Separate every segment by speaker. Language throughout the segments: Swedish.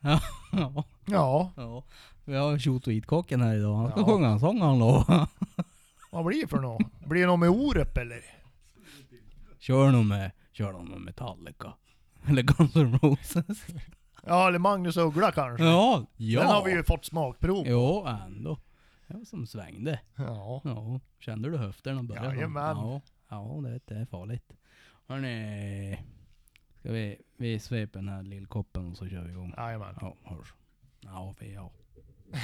Speaker 1: Ja.
Speaker 2: Ja,
Speaker 1: ja. Vi har tjot och kocken här idag. Han ska
Speaker 2: Ja.
Speaker 1: sjunga en sång han lovade.
Speaker 2: vad blir det för något? Blir det något med Orup eller?
Speaker 1: Kör nog med, kör nog med Metallica. Eller Guns N' Roses.
Speaker 2: Ja, eller Magnus Uggla kanske?
Speaker 1: Ja, ja.
Speaker 2: Den har vi ju fått smakprov på.
Speaker 1: Jo, ändå. Det var som svängde.
Speaker 2: Ja.
Speaker 1: Ja, kände du höften och började?
Speaker 2: Jajamän.
Speaker 1: Ja, ja det, det är farligt. Hörni, ska vi, vi sveper den här lillkoppen och så kör vi igång.
Speaker 2: Jajamän.
Speaker 1: Ja, hörs. Ja, vi ja.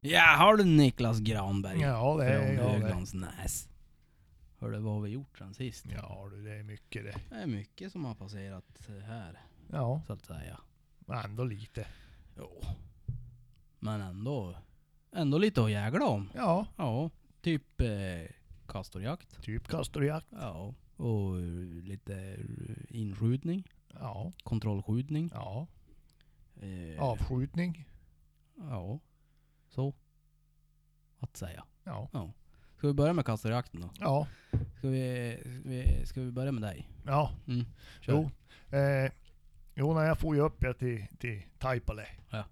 Speaker 1: Ja, har du Niklas Granberg?
Speaker 2: Ja, det är
Speaker 1: från
Speaker 2: jag det.
Speaker 1: Höglands näs. Hörde vad har vi gjort sen sist?
Speaker 2: Ja du, det är mycket det.
Speaker 1: Det är mycket som har passerat här,
Speaker 2: Ja,
Speaker 1: så att säga.
Speaker 2: men ändå lite.
Speaker 1: Jo. Men ändå, ändå lite att jägla om.
Speaker 2: Ja,
Speaker 1: Ja, typ eh, kastorjakt.
Speaker 2: typ kastorjakt.
Speaker 1: Ja, och eh, lite eh, inskjutning,
Speaker 2: Ja,
Speaker 1: kontrollskjutning.
Speaker 2: ja.
Speaker 1: Eh,
Speaker 2: Avskjutning.
Speaker 1: Ja, så. Att säga.
Speaker 2: Ja,
Speaker 1: Ja. Ska vi börja med kastorjakten då?
Speaker 2: ja,
Speaker 1: Ska vi, ska vi, ska vi börja med dig?
Speaker 2: ja.
Speaker 1: Mm. kör.
Speaker 2: Jo. Eh, jo, när jag for ju upp jag till, till Taipale.
Speaker 1: Ja.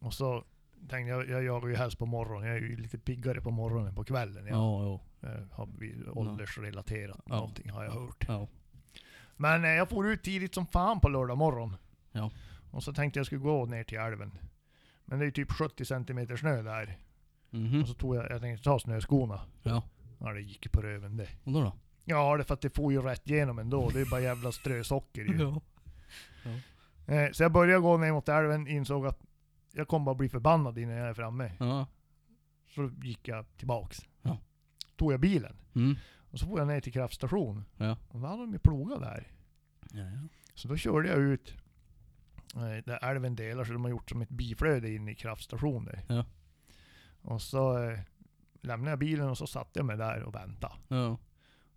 Speaker 2: Och så tänkte jag, jag jagar ju helst på morgonen. Jag är ju lite piggare på morgonen än på kvällen. Jag,
Speaker 1: Ja, jo.
Speaker 2: eh, har blivit åldersrelaterat
Speaker 1: Ja.
Speaker 2: någonting har jag hört.
Speaker 1: Ja.
Speaker 2: Men eh, jag for ut tidigt som fan på lördag morgon.
Speaker 1: Ja.
Speaker 2: Och så tänkte jag skulle gå ner till älven. Men det är ju typ 70 centimeter snö där.
Speaker 1: Mhm.
Speaker 2: Och så tog jag, jag tänkte ta snöskorna.
Speaker 1: Ja.
Speaker 2: Ja det gick ju på röven det.
Speaker 1: Och då då?
Speaker 2: Ja det är för att det får ju rätt igenom ändå. Det är ju bara jävla strösocker ju.
Speaker 1: Ja.
Speaker 2: Eh, Så jag började gå ner mot älven, insåg att jag kommer bara bli förbannad innan jag är framme.
Speaker 1: Ja.
Speaker 2: Så gick jag tillbaks.
Speaker 1: Ja.
Speaker 2: Tog jag bilen.
Speaker 1: Mm.
Speaker 2: Och så får jag ner till kraftstation.
Speaker 1: Ja.
Speaker 2: Och då hade de ju plogat där.
Speaker 1: Ja, ja.
Speaker 2: Så då körde jag ut eh, där älven delar så de har gjort som ett biflöde in i kraftstationen.
Speaker 1: Ja.
Speaker 2: Och så eh, lämnade jag bilen och så satte jag mig där och väntade.
Speaker 1: Ja.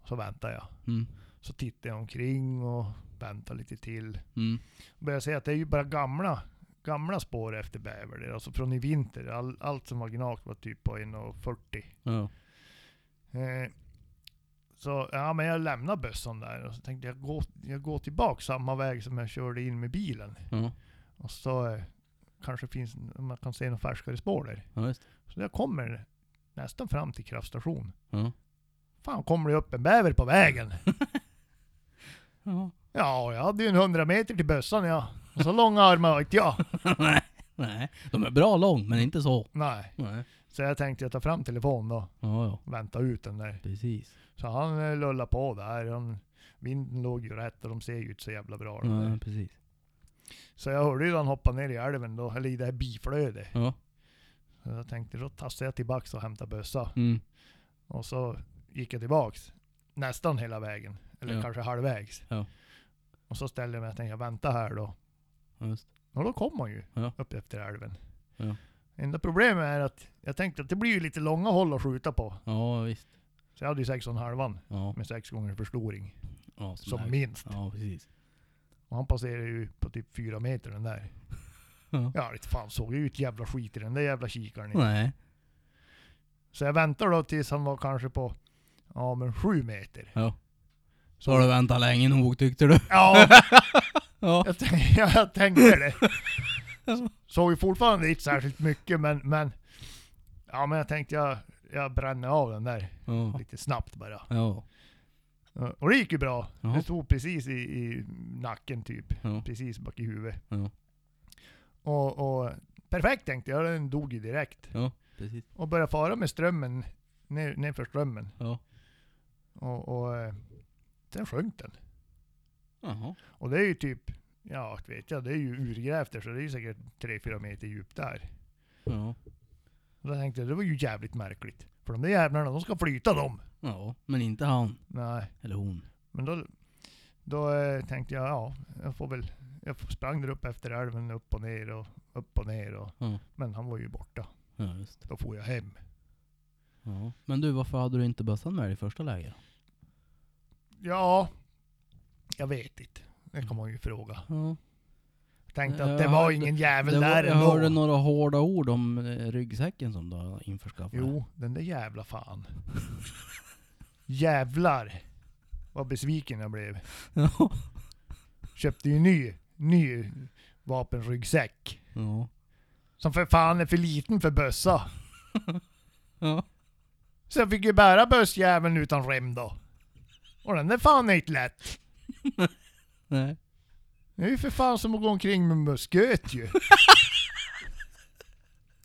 Speaker 2: Och så väntade jag.
Speaker 1: Mm.
Speaker 2: Så tittade jag omkring och väntade lite till.
Speaker 1: Mm.
Speaker 2: Började säga att det är ju bara gamla, gamla spår efter bäver. där, Alltså från i vinter. All, allt som var gnagt var typ på 1,40.
Speaker 1: Ja.
Speaker 2: Eh, så ja, men jag lämnade bössan där och så tänkte jag gå, jag går tillbaka samma väg som jag körde in med bilen.
Speaker 1: Ja.
Speaker 2: Och så eh, kanske finns, man kan se några färskare spår där.
Speaker 1: Ja, just.
Speaker 2: Så jag kommer nästan fram till kraftstation.
Speaker 1: Ja.
Speaker 2: Fan kommer det upp en bäver på vägen?
Speaker 1: Ja.
Speaker 2: Ja, jag hade ju en hundra meter till bössan ja. Och så långa armar har inte jag.
Speaker 1: Nej. Nej. De är bra lång, men inte så.
Speaker 2: Nej.
Speaker 1: Nej.
Speaker 2: Så jag tänkte jag tar fram telefonen då.
Speaker 1: Ja, ja.
Speaker 2: och Vänta ut den där.
Speaker 1: Precis.
Speaker 2: Så han eh, lullade på där. Han, vinden låg ju rätt och de ser ju inte så jävla bra. de
Speaker 1: Ja,
Speaker 2: där.
Speaker 1: precis.
Speaker 2: Så jag hörde ju han hoppa ner i älven då, eller i det här biflödet.
Speaker 1: Ja.
Speaker 2: Så jag tänkte då tassar jag tillbaks och hämtar bössa.
Speaker 1: Mm.
Speaker 2: Och så gick jag tillbaks. Nästan hela vägen. Eller
Speaker 1: Ja.
Speaker 2: kanske halvvägs.
Speaker 1: Ja.
Speaker 2: Och så ställde jag mig och tänkte jag väntar här då.
Speaker 1: Ja, just.
Speaker 2: Och då kom han ju.
Speaker 1: Ja.
Speaker 2: Upp efter älven.
Speaker 1: Ja.
Speaker 2: Enda problemet är att jag tänkte att det blir ju lite långa håll att skjuta på.
Speaker 1: Ja, visst.
Speaker 2: Så jag hade ju sex och en halvan
Speaker 1: Ja.
Speaker 2: med sex gånger förstoring.
Speaker 1: ja
Speaker 2: Som
Speaker 1: där.
Speaker 2: minst.
Speaker 1: Ja, precis.
Speaker 2: Och han passerade ju på typ fyra meter den där.
Speaker 1: Ja.
Speaker 2: Ja, inte fan såg jag ju ett jävla skit i den där jävla kikaren.
Speaker 1: Nej.
Speaker 2: Så jag väntar då tills han var kanske på, ja men sju meter.
Speaker 1: Ja. Så har du väntat länge nog tyckte du?
Speaker 2: Ja,
Speaker 1: Ja.
Speaker 2: jag, tänk, jag tänkte det. Såg ju fortfarande inte särskilt mycket men, men ja men jag tänkte jag, jag bränner av den där
Speaker 1: Ja.
Speaker 2: lite snabbt bara.
Speaker 1: Ja.
Speaker 2: Ja, Och det gick ju bra.
Speaker 1: Jaha.
Speaker 2: Det stod precis i, i nacken typ.
Speaker 1: Ja.
Speaker 2: Precis bak i huvudet.
Speaker 1: Ja.
Speaker 2: Och, och perfekt tänkte jag, den dog ju direkt.
Speaker 1: Ja. Precis.
Speaker 2: Och började fara med strömmen, ner, nerför strömmen.
Speaker 1: Ja.
Speaker 2: Och, och eh, sen sjönk den.
Speaker 1: Jaha.
Speaker 2: Och det är ju typ, ja inte vet jag, det är ju urgrävt där, så det är ju säkert 3-4 meter djupt där.
Speaker 1: Ja.
Speaker 2: Och då tänkte jag, det var ju jävligt märkligt. För de där jävlarna, de ska flyta dem.
Speaker 1: Ja. Men inte han.
Speaker 2: Nej,
Speaker 1: Eller hon.
Speaker 2: men då, då eh, tänkte jag, ja, jag får väl, jag sprang där upp efter älven, upp och ner och upp och ner. Och,
Speaker 1: Ja.
Speaker 2: Men han var ju borta.
Speaker 1: Ja, just.
Speaker 2: Då får jag hem.
Speaker 1: Ja. Men du, varför hade du inte bössan med dig i första läget då?
Speaker 2: Ja, jag vet inte. Det kan man ju fråga.
Speaker 1: Ja.
Speaker 2: Tänkte att det
Speaker 1: Jag
Speaker 2: var
Speaker 1: hörde-
Speaker 2: ingen jävel
Speaker 1: Det var-
Speaker 2: där
Speaker 1: jag hörde
Speaker 2: ändå.
Speaker 1: några hårda ord om eh, ryggsäcken som du har införskaffat.
Speaker 2: Jo, den där jävla fan. Jävlar vad besviken jag blev.
Speaker 1: ja.
Speaker 2: Köpte ju ny, ny vapenryggsäck.
Speaker 1: Ja.
Speaker 2: Som för fan är för liten för bössa.
Speaker 1: Ja.
Speaker 2: Så jag fick ju bära bössjäveln utan rem då. Och den där fan är inte lätt.
Speaker 1: Nej.
Speaker 2: Det är ju för fan som att gå omkring med musköt ju.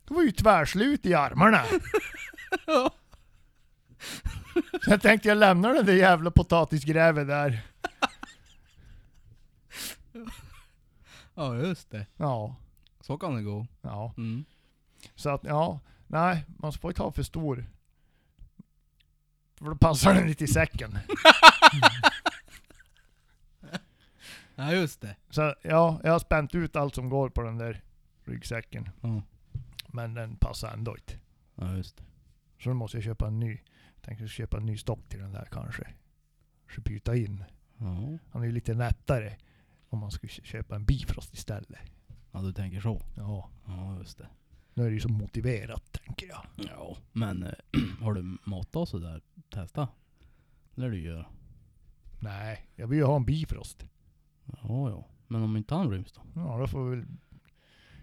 Speaker 2: Det var ju tvärslut i armarna. Så jag tänkte jag lämnar den där jävla potatisgrävet där.
Speaker 1: ja, just det.
Speaker 2: Ja,
Speaker 1: Så kan det gå.
Speaker 2: ja.
Speaker 1: Mm.
Speaker 2: Så att ja, nej, man får inte ha för stor. För då passar den lite i säcken.
Speaker 1: Ja, just det.
Speaker 2: Så ja, jag har spänt ut allt som går på den där ryggsäcken.
Speaker 1: Ja,
Speaker 2: Men den passar ändå inte.
Speaker 1: ja just det.
Speaker 2: Så nu måste jag köpa en ny. Tänkte köpa en ny stock till den där kanske. Så byta in.
Speaker 1: Ja.
Speaker 2: Han är ju lite lättare om man skulle köpa en Bifrost istället.
Speaker 1: ja, du tänker så.
Speaker 2: Ja,
Speaker 1: Ja, just det.
Speaker 2: nu är det ju så motiverat tänker jag.
Speaker 1: Ja, men eh, har du matat och sådär? Testa. Det lär du göra.
Speaker 2: Nej, jag vill ju ha en Bifrost.
Speaker 1: Ja, ja. Men om inte han ryms då?
Speaker 2: Ja, då får vi väl...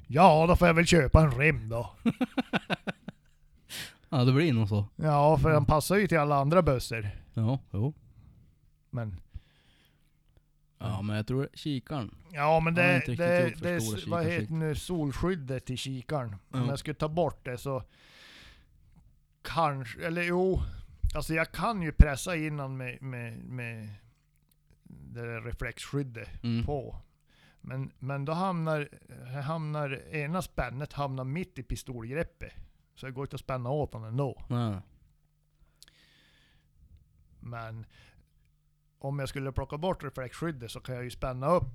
Speaker 2: Ja, då får jag väl köpa en rem då.
Speaker 1: Ja, det blir nog så.
Speaker 2: Ja, för
Speaker 1: Mm.
Speaker 2: den passar ju till alla andra bössor.
Speaker 1: Ja, jo.
Speaker 2: Men
Speaker 1: Ja, men jag tror kikarn.
Speaker 2: ja, men
Speaker 1: Ja,
Speaker 2: det,
Speaker 1: inte
Speaker 2: det,
Speaker 1: riktigt
Speaker 2: det,
Speaker 1: gjort för stora
Speaker 2: är vad heter
Speaker 1: kikarsikten.
Speaker 2: nu, solskyddet till kikaren. Om
Speaker 1: Ja.
Speaker 2: jag skulle ta bort det så kanske, eller jo, alltså jag kan ju pressa innan med, med, med det där reflexskyddet
Speaker 1: Mm.
Speaker 2: på. Men, men då hamnar, hamnar ena spännet hamnar mitt i pistolgreppet. Så det går inte att spänna åt den ändå.
Speaker 1: Nej.
Speaker 2: Men om jag skulle plocka bort reflexskyddet så kan jag ju spänna upp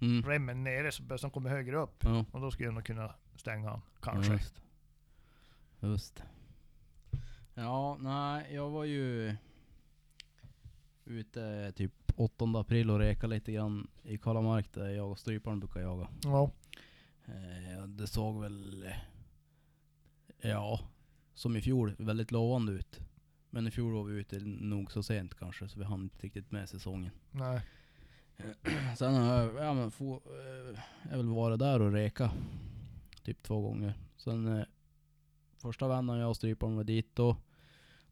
Speaker 1: Mm.
Speaker 2: remmen nere så bössan kommer högre upp.
Speaker 1: Ja.
Speaker 2: Och då skulle jag nog kunna stänga han. Kanske.
Speaker 1: Ja, Just. just det. Ja, nej, jag var ju ute typ 8 april och reka lite grann i Kalamark där jag och stryparen brukar jaga.
Speaker 2: Ja.
Speaker 1: Eh, det såg väl, eh, ja, som i fjol, väldigt lovande ut. Men i fjol var vi ute nog så sent kanske, så vi hann inte riktigt med säsongen.
Speaker 2: Nej.
Speaker 1: Sen har jag, ja, men få, eh, jag har väl varit där och reka. Typ två gånger. Sen eh, första vändan jag och stryparen var dit då.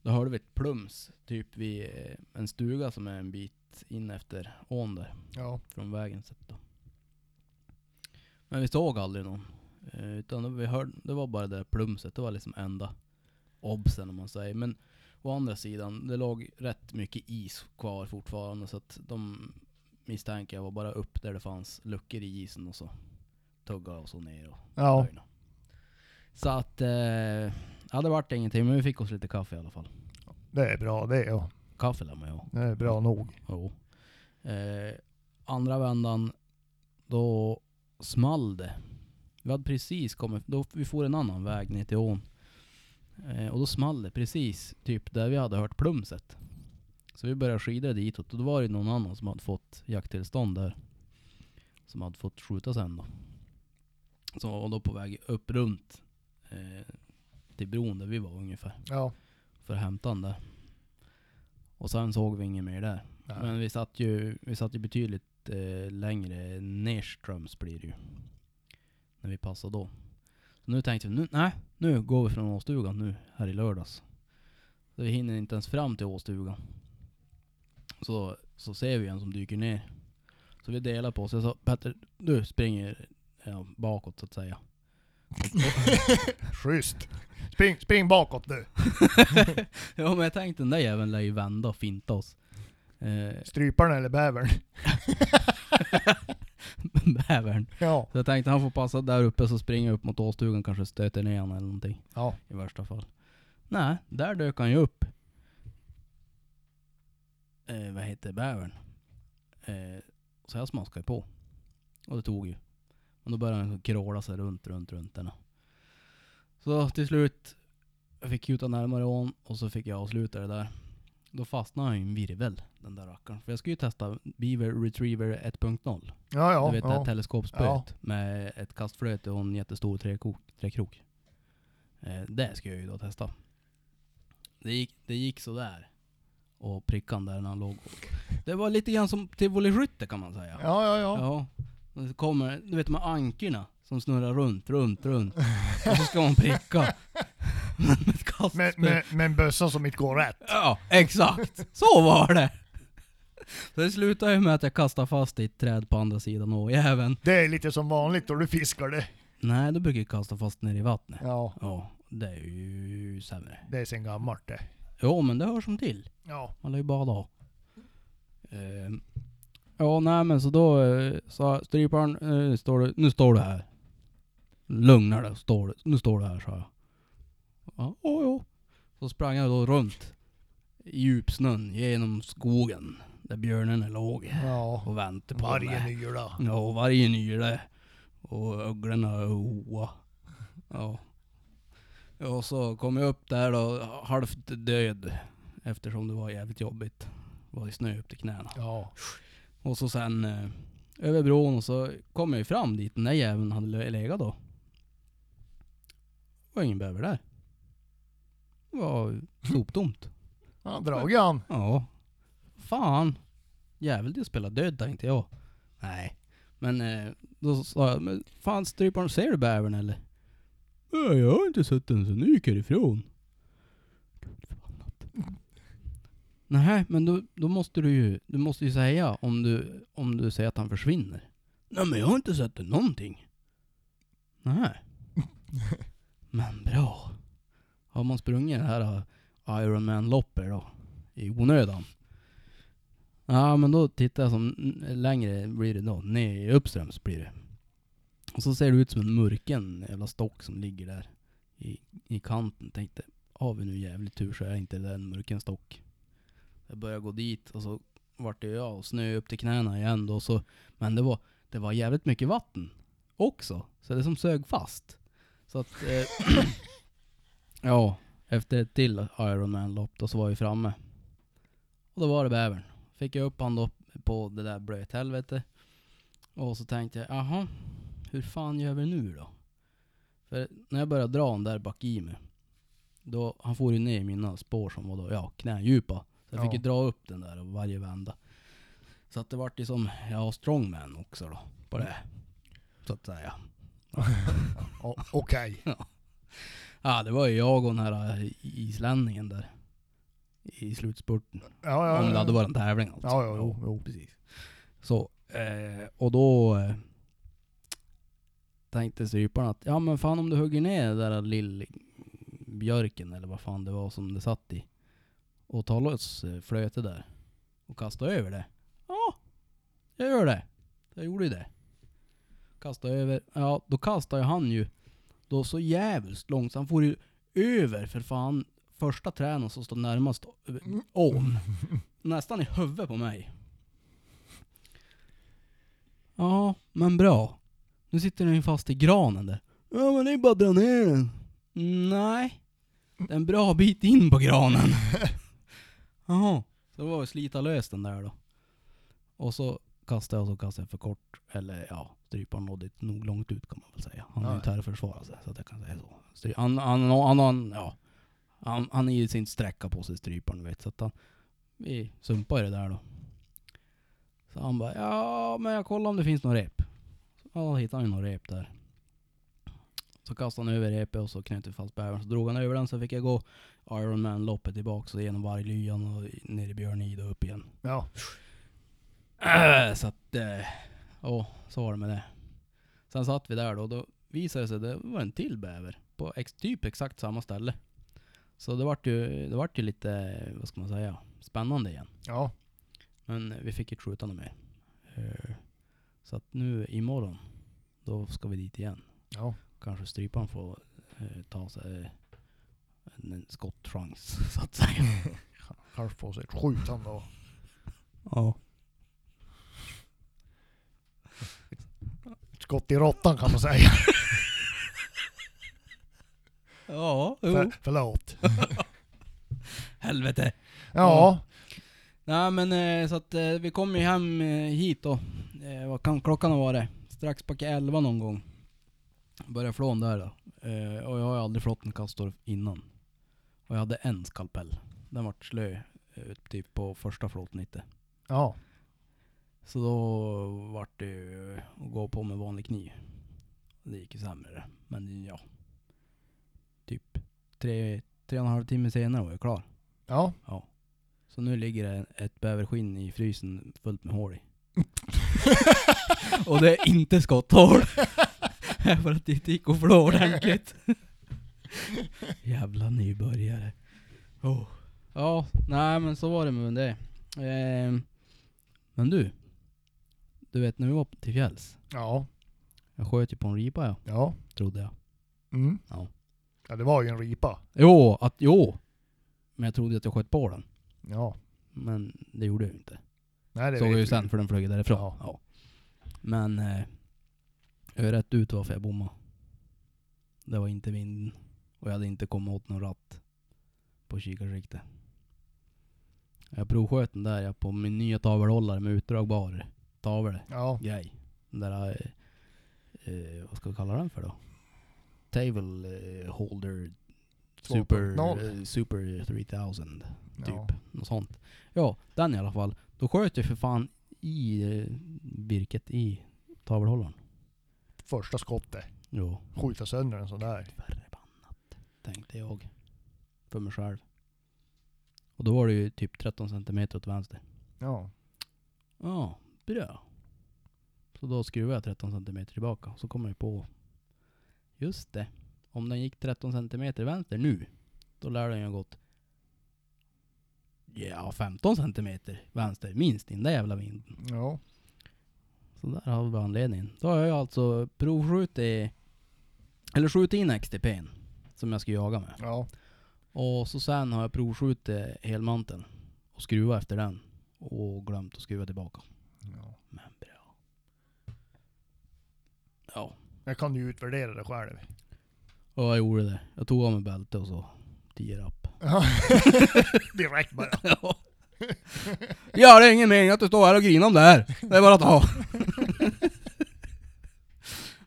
Speaker 1: Då hörde vi ett plums. Typ vid eh, en stuga som är en bit in efter ån där.
Speaker 2: Ja.
Speaker 1: Från vägen sett då. Men vi såg aldrig någon. Eh, utan då vi hörde, det var bara det där plumset. Det var liksom enda obsen om man säger. Men å andra sidan, det låg rätt mycket is kvar fortfarande. Så att de misstänker jag var bara upp där det fanns luckor i isen och så tuggade och så ner och
Speaker 2: Ja.
Speaker 1: öjna. Så att, eh, ja det vart ingenting. Men vi fick oss lite kaffe i alla fall.
Speaker 2: Det är bra det ja.
Speaker 1: Kaffe lär man ju ha.
Speaker 2: Det är
Speaker 1: Mm.
Speaker 2: bra nog.
Speaker 1: Jo. Eh, andra vändan, då small det. Vi hade precis kommit, då vi får en annan väg ner till ån. Eh, och då small det precis typ där vi hade hört plumset. Så vi började skida ditåt och då var det någon annan som hade fått jakttillstånd där. Som hade fått skjuta sen då. Som var då på väg upp runt eh, till bron där vi var ungefär.
Speaker 2: Ja.
Speaker 1: För att hämta den där. Och sen såg vi inget mer där.
Speaker 2: Nej.
Speaker 1: Men vi satt ju, vi satt ju betydligt eh, längre nerströms blir det ju. När vi passade då. Så nu tänkte vi, nu, nej, nu går vi från Åstugan nu här i lördags. Så vi hinner inte ens fram till Åstugan. Så, så ser vi en som dyker ner. Så vi delar på oss. Jag sa Petter, du springer ja, bakåt så att säga.
Speaker 2: Schysst. Spring, spring bakåt du.
Speaker 1: ja men jag tänkte den där jäveln lär ju vända och finta oss. Eh,
Speaker 2: Stryparen eller bävern.
Speaker 1: bävern.
Speaker 2: Ja.
Speaker 1: Så jag tänkte han får passa där uppe så springer jag upp mot åstugan kanske stöter ner honom eller någonting.
Speaker 2: Ja.
Speaker 1: I värsta fall. Nej, där dök han ju upp. Eh, vad heter bävern? Eh, så jag smaskade ju på. Och det tog ju. Men då började han liksom kråla sig runt, runt, runt den. Så till slut, jag fick kuta närmare ån och så fick jag avsluta det där. Då fastnade han i en virvel, den där rackaren. För jag skulle ju testa Beaver Retriever 1.0.
Speaker 2: Ja, ja.
Speaker 1: du vet det här
Speaker 2: ja.
Speaker 1: teleskopspöet
Speaker 2: Ja.
Speaker 1: med ett kastflöte och en jättestor träkrok. träkrok. Eh, det ska jag ju då testa. Det gick, det gick sådär. Och prickan där när han låg. Det var lite grann som tivoliskytte kan man säga.
Speaker 2: ja, ja, ja.
Speaker 1: Ja. Och så kommer, du vet de här ankorna som snurrar runt, runt, runt. Och så ska man pricka. med ett
Speaker 2: Med,
Speaker 1: kastspö.
Speaker 2: med, med en bössa som inte går rätt.
Speaker 1: Ja, exakt. Så var det. Så det slutade ju med att jag kastade fast i ett träd på andra sidan åjäveln.
Speaker 2: Det är lite som vanligt då du fiskar det.
Speaker 1: Nej, då brukar jag kasta fast ner i vattnet. Ja,
Speaker 2: Ja,
Speaker 1: det är ju sämre.
Speaker 2: det är sen gammalt det.
Speaker 1: Jo, men det hör som till.
Speaker 2: Ja.
Speaker 1: Man lär ju bada. Ehm. Ja, nej men så då eh, sa stryparen, eh, står du, nu står du här. Lugna dig, står du, nu står du här sa jag. Ja, åh, ja. Så sprang jag då runt i djupsnön genom skogen där björnen låg
Speaker 2: Ja.
Speaker 1: och väntade på
Speaker 2: Varje
Speaker 1: mig.
Speaker 2: nyla.
Speaker 1: Ja, och varje nyle. Och öglorna hoa. Ja. Och så kom jag upp där då, halvt död. Eftersom det var jävligt jobbigt. Det var ju snö upp till knäna.
Speaker 2: Ja.
Speaker 1: Och så sen eh, över bron och så kom jag ju fram dit den där jäveln hade le- legat då. Det var ingen bäver där. Det var soptomt.
Speaker 2: Han dragit han.
Speaker 1: Ja. Fan. Jävligt att spela död tänkte jag. Nej. Men eh, då sa jag, men fan stryparen, ser du bävern eller? Nej, jag har inte sett den sen du gick härifrån. Gud förbannat. Nej, men då, då måste du ju, du måste ju säga om du, om du säger att han försvinner. Nej men jag har inte sett den någonting. Nej. Men bra. Har man sprungit det här eh, Ironman-loppet då? i onödan. Ja men då tittar jag som längre blir det då, ner uppströms blir det. Och så ser det ut som en murken jävla stock som ligger där i, i kanten. Tänkte, har vi nu jävligt tur så är inte det där en murken stock. Jag började gå dit och så vart det jag och snö upp till knäna igen då så, men det var, det var jävligt mycket vatten också. Så det som sög fast. Så att, eh, ja, efter ett till Ironman-lopp då så var vi framme. Och då var det bävern. Fick jag upp han då på det där blöthelvetet. Och så tänkte jag, jaha, hur fan gör vi nu då? För när jag började dra han där bak i mig, då, han for ju ner i mina spår som var då, ja, knädjupa. Så jag fick
Speaker 2: Ja.
Speaker 1: ju dra upp den där varje vända. Så att det vart ju som, ja, strongman också då, på det. Så att säga.
Speaker 2: O- Okej.
Speaker 1: Ja, det var ju jag och den här eh, islänningen där. I slutspurten.
Speaker 2: Ja, ja, ja.
Speaker 1: Om det hade varit en tävling alltså.
Speaker 2: Ja, ja, jo, jo.
Speaker 1: precis. Så, eh, och då eh, tänkte stryparen att, ja men fan om du hugger ner den där lillbjörken eller vad fan det var som det satt i. Och tar loss eh, flötet där. Och kastar över det. Ja, jag gör det. Jag gjorde ju det. Kastade över. Ja, då kastade han ju då så jävligt långt så han får ju över för fan första träden som står närmast ö- ån. Nästan i huvudet på mig. Ja, men bra. Nu sitter den ju fast i granen där. Ja men det är bara att dra ner den. Nej. Det är en bra bit in på granen. Jaha. Så det var att slita lös den där då. Och så kastade jag och så kastade jag för kort. Eller ja, stryparen nådde inte nog långt ut kan man väl säga. Han är ju
Speaker 2: Ja.
Speaker 1: inte här för att försvara sig så att jag kan säga så. Stry- Han, han, han, han, ja. han, han är ju sin sträcka på sig stryparen vet så att han, vi sumpade ju det där då. Så han bara, ja men jag kollar om det finns några rep. Ja, då hittade han ju några rep där. Så kastade han över repet och så knöt vi fast bävern. Så drog han över den så fick jag gå Ironman-loppet tillbaka. Så genom varglyan och ner i Björnid och upp igen.
Speaker 2: Ja.
Speaker 1: Äh, så att, eh, ja så var det med det. Sen satt vi där då. Då visade det sig att det var en till bäver. På ex, typ exakt samma ställe. Så det vart ju, det vart ju lite, vad ska man säga, spännande igen.
Speaker 2: Ja.
Speaker 1: Men vi fick inte skjuta något mer. Eh, Så att nu imorgon, då ska vi dit igen.
Speaker 2: Ja.
Speaker 1: Kanske strypan får eh, ta sig en, en skottchans, så att säga.
Speaker 2: Kanske får sig ett skjutande och
Speaker 1: Ja.
Speaker 2: ett skott i råttan kan man säga.
Speaker 1: Ja, jo.
Speaker 2: För, förlåt.
Speaker 1: Helvete.
Speaker 2: Ja,
Speaker 1: Nej men eh, så att eh, vi kom ju hem eh, hit då. Eh, vad kan klockan ha varit? Strax bak i elva någon gång. Började flån där då. Eh, och jag har ju aldrig flått en kastor innan. Och jag hade en skalpell. Den vart slö eh, typ på första flåtnyttet.
Speaker 2: ja.
Speaker 1: Så då vart det ju eh, att gå på med vanlig kniv. Det gick ju sämre det. Men ja. Typ tre, tre och en halv timme senare var jag klar.
Speaker 2: ja.
Speaker 1: Ja. Så nu ligger det ett bäverskinn i frysen fullt med hål i. Och det är inte skotthål. För att det inte gick att flå ordentligt. Jävla nybörjare. Oh. Ja, nej men så var det med det. Ehm, men du. Du vet när vi var till fjälls.
Speaker 2: Ja,
Speaker 1: Jag sköt ju på en ripa jag,
Speaker 2: ja.
Speaker 1: trodde jag.
Speaker 2: Mm.
Speaker 1: Ja.
Speaker 2: Ja, det var ju en ripa.
Speaker 1: Jo, att jo. Men jag trodde att jag sköt på den.
Speaker 2: Ja.
Speaker 1: Men det gjorde jag ju inte.
Speaker 2: Nej, det
Speaker 1: Såg
Speaker 2: vet
Speaker 1: jag ju
Speaker 2: vi.
Speaker 1: sen för den flög därifrån.
Speaker 2: Ja.
Speaker 1: Ja. Men eh, jag är rätt ut varför jag bommade. Det var inte vinden och jag hade inte kommit åt någon ratt på kikarsikte. Jag provsköt den där jag på min nya tavelhållare med utdragbar tavel
Speaker 2: Ja,
Speaker 1: grej. Den där, eh, eh, vad ska vi kalla den för då? Table eh, holder super,
Speaker 2: 2.0.
Speaker 1: eh, super 3000 typ.
Speaker 2: ja.
Speaker 1: Något sånt. Ja, den i alla fall. Då sköt jag för fan i eh, virket i tavelhållaren.
Speaker 2: Första skottet.
Speaker 1: Jo.
Speaker 2: Skjuta sönder en sån där.
Speaker 1: Förbannat. Tänkte jag. För mig själv. Och då var det ju typ 13 centimeter åt vänster.
Speaker 2: Ja.
Speaker 1: Ja, bra. Så då skruvade jag 13 centimeter tillbaka. Så kom jag på. Just det. Om den gick 13 centimeter vänster nu. Då lär den ju ha gått. Ja, 15 centimeter vänster. Minst i den där jävla vinden.
Speaker 2: Ja.
Speaker 1: Så där har vi anledningen. Då har jag ju alltså provskjutit, eller skjutit in XTP'n som jag ska jaga med.
Speaker 2: Ja.
Speaker 1: Och så sen har jag provskjutit helmanteln och skruvat efter den och glömt att skruva tillbaka.
Speaker 2: ja.
Speaker 1: Men bra. Ja,
Speaker 2: Jag kan ju utvärdera det själv.
Speaker 1: och jag gjorde det. Jag tog av mig bältet och så 10 rapp.
Speaker 2: Ja. Direkt bara.
Speaker 1: Ja. ja, det är ingen mening att du står här och grinar om det här. Det är bara att ta.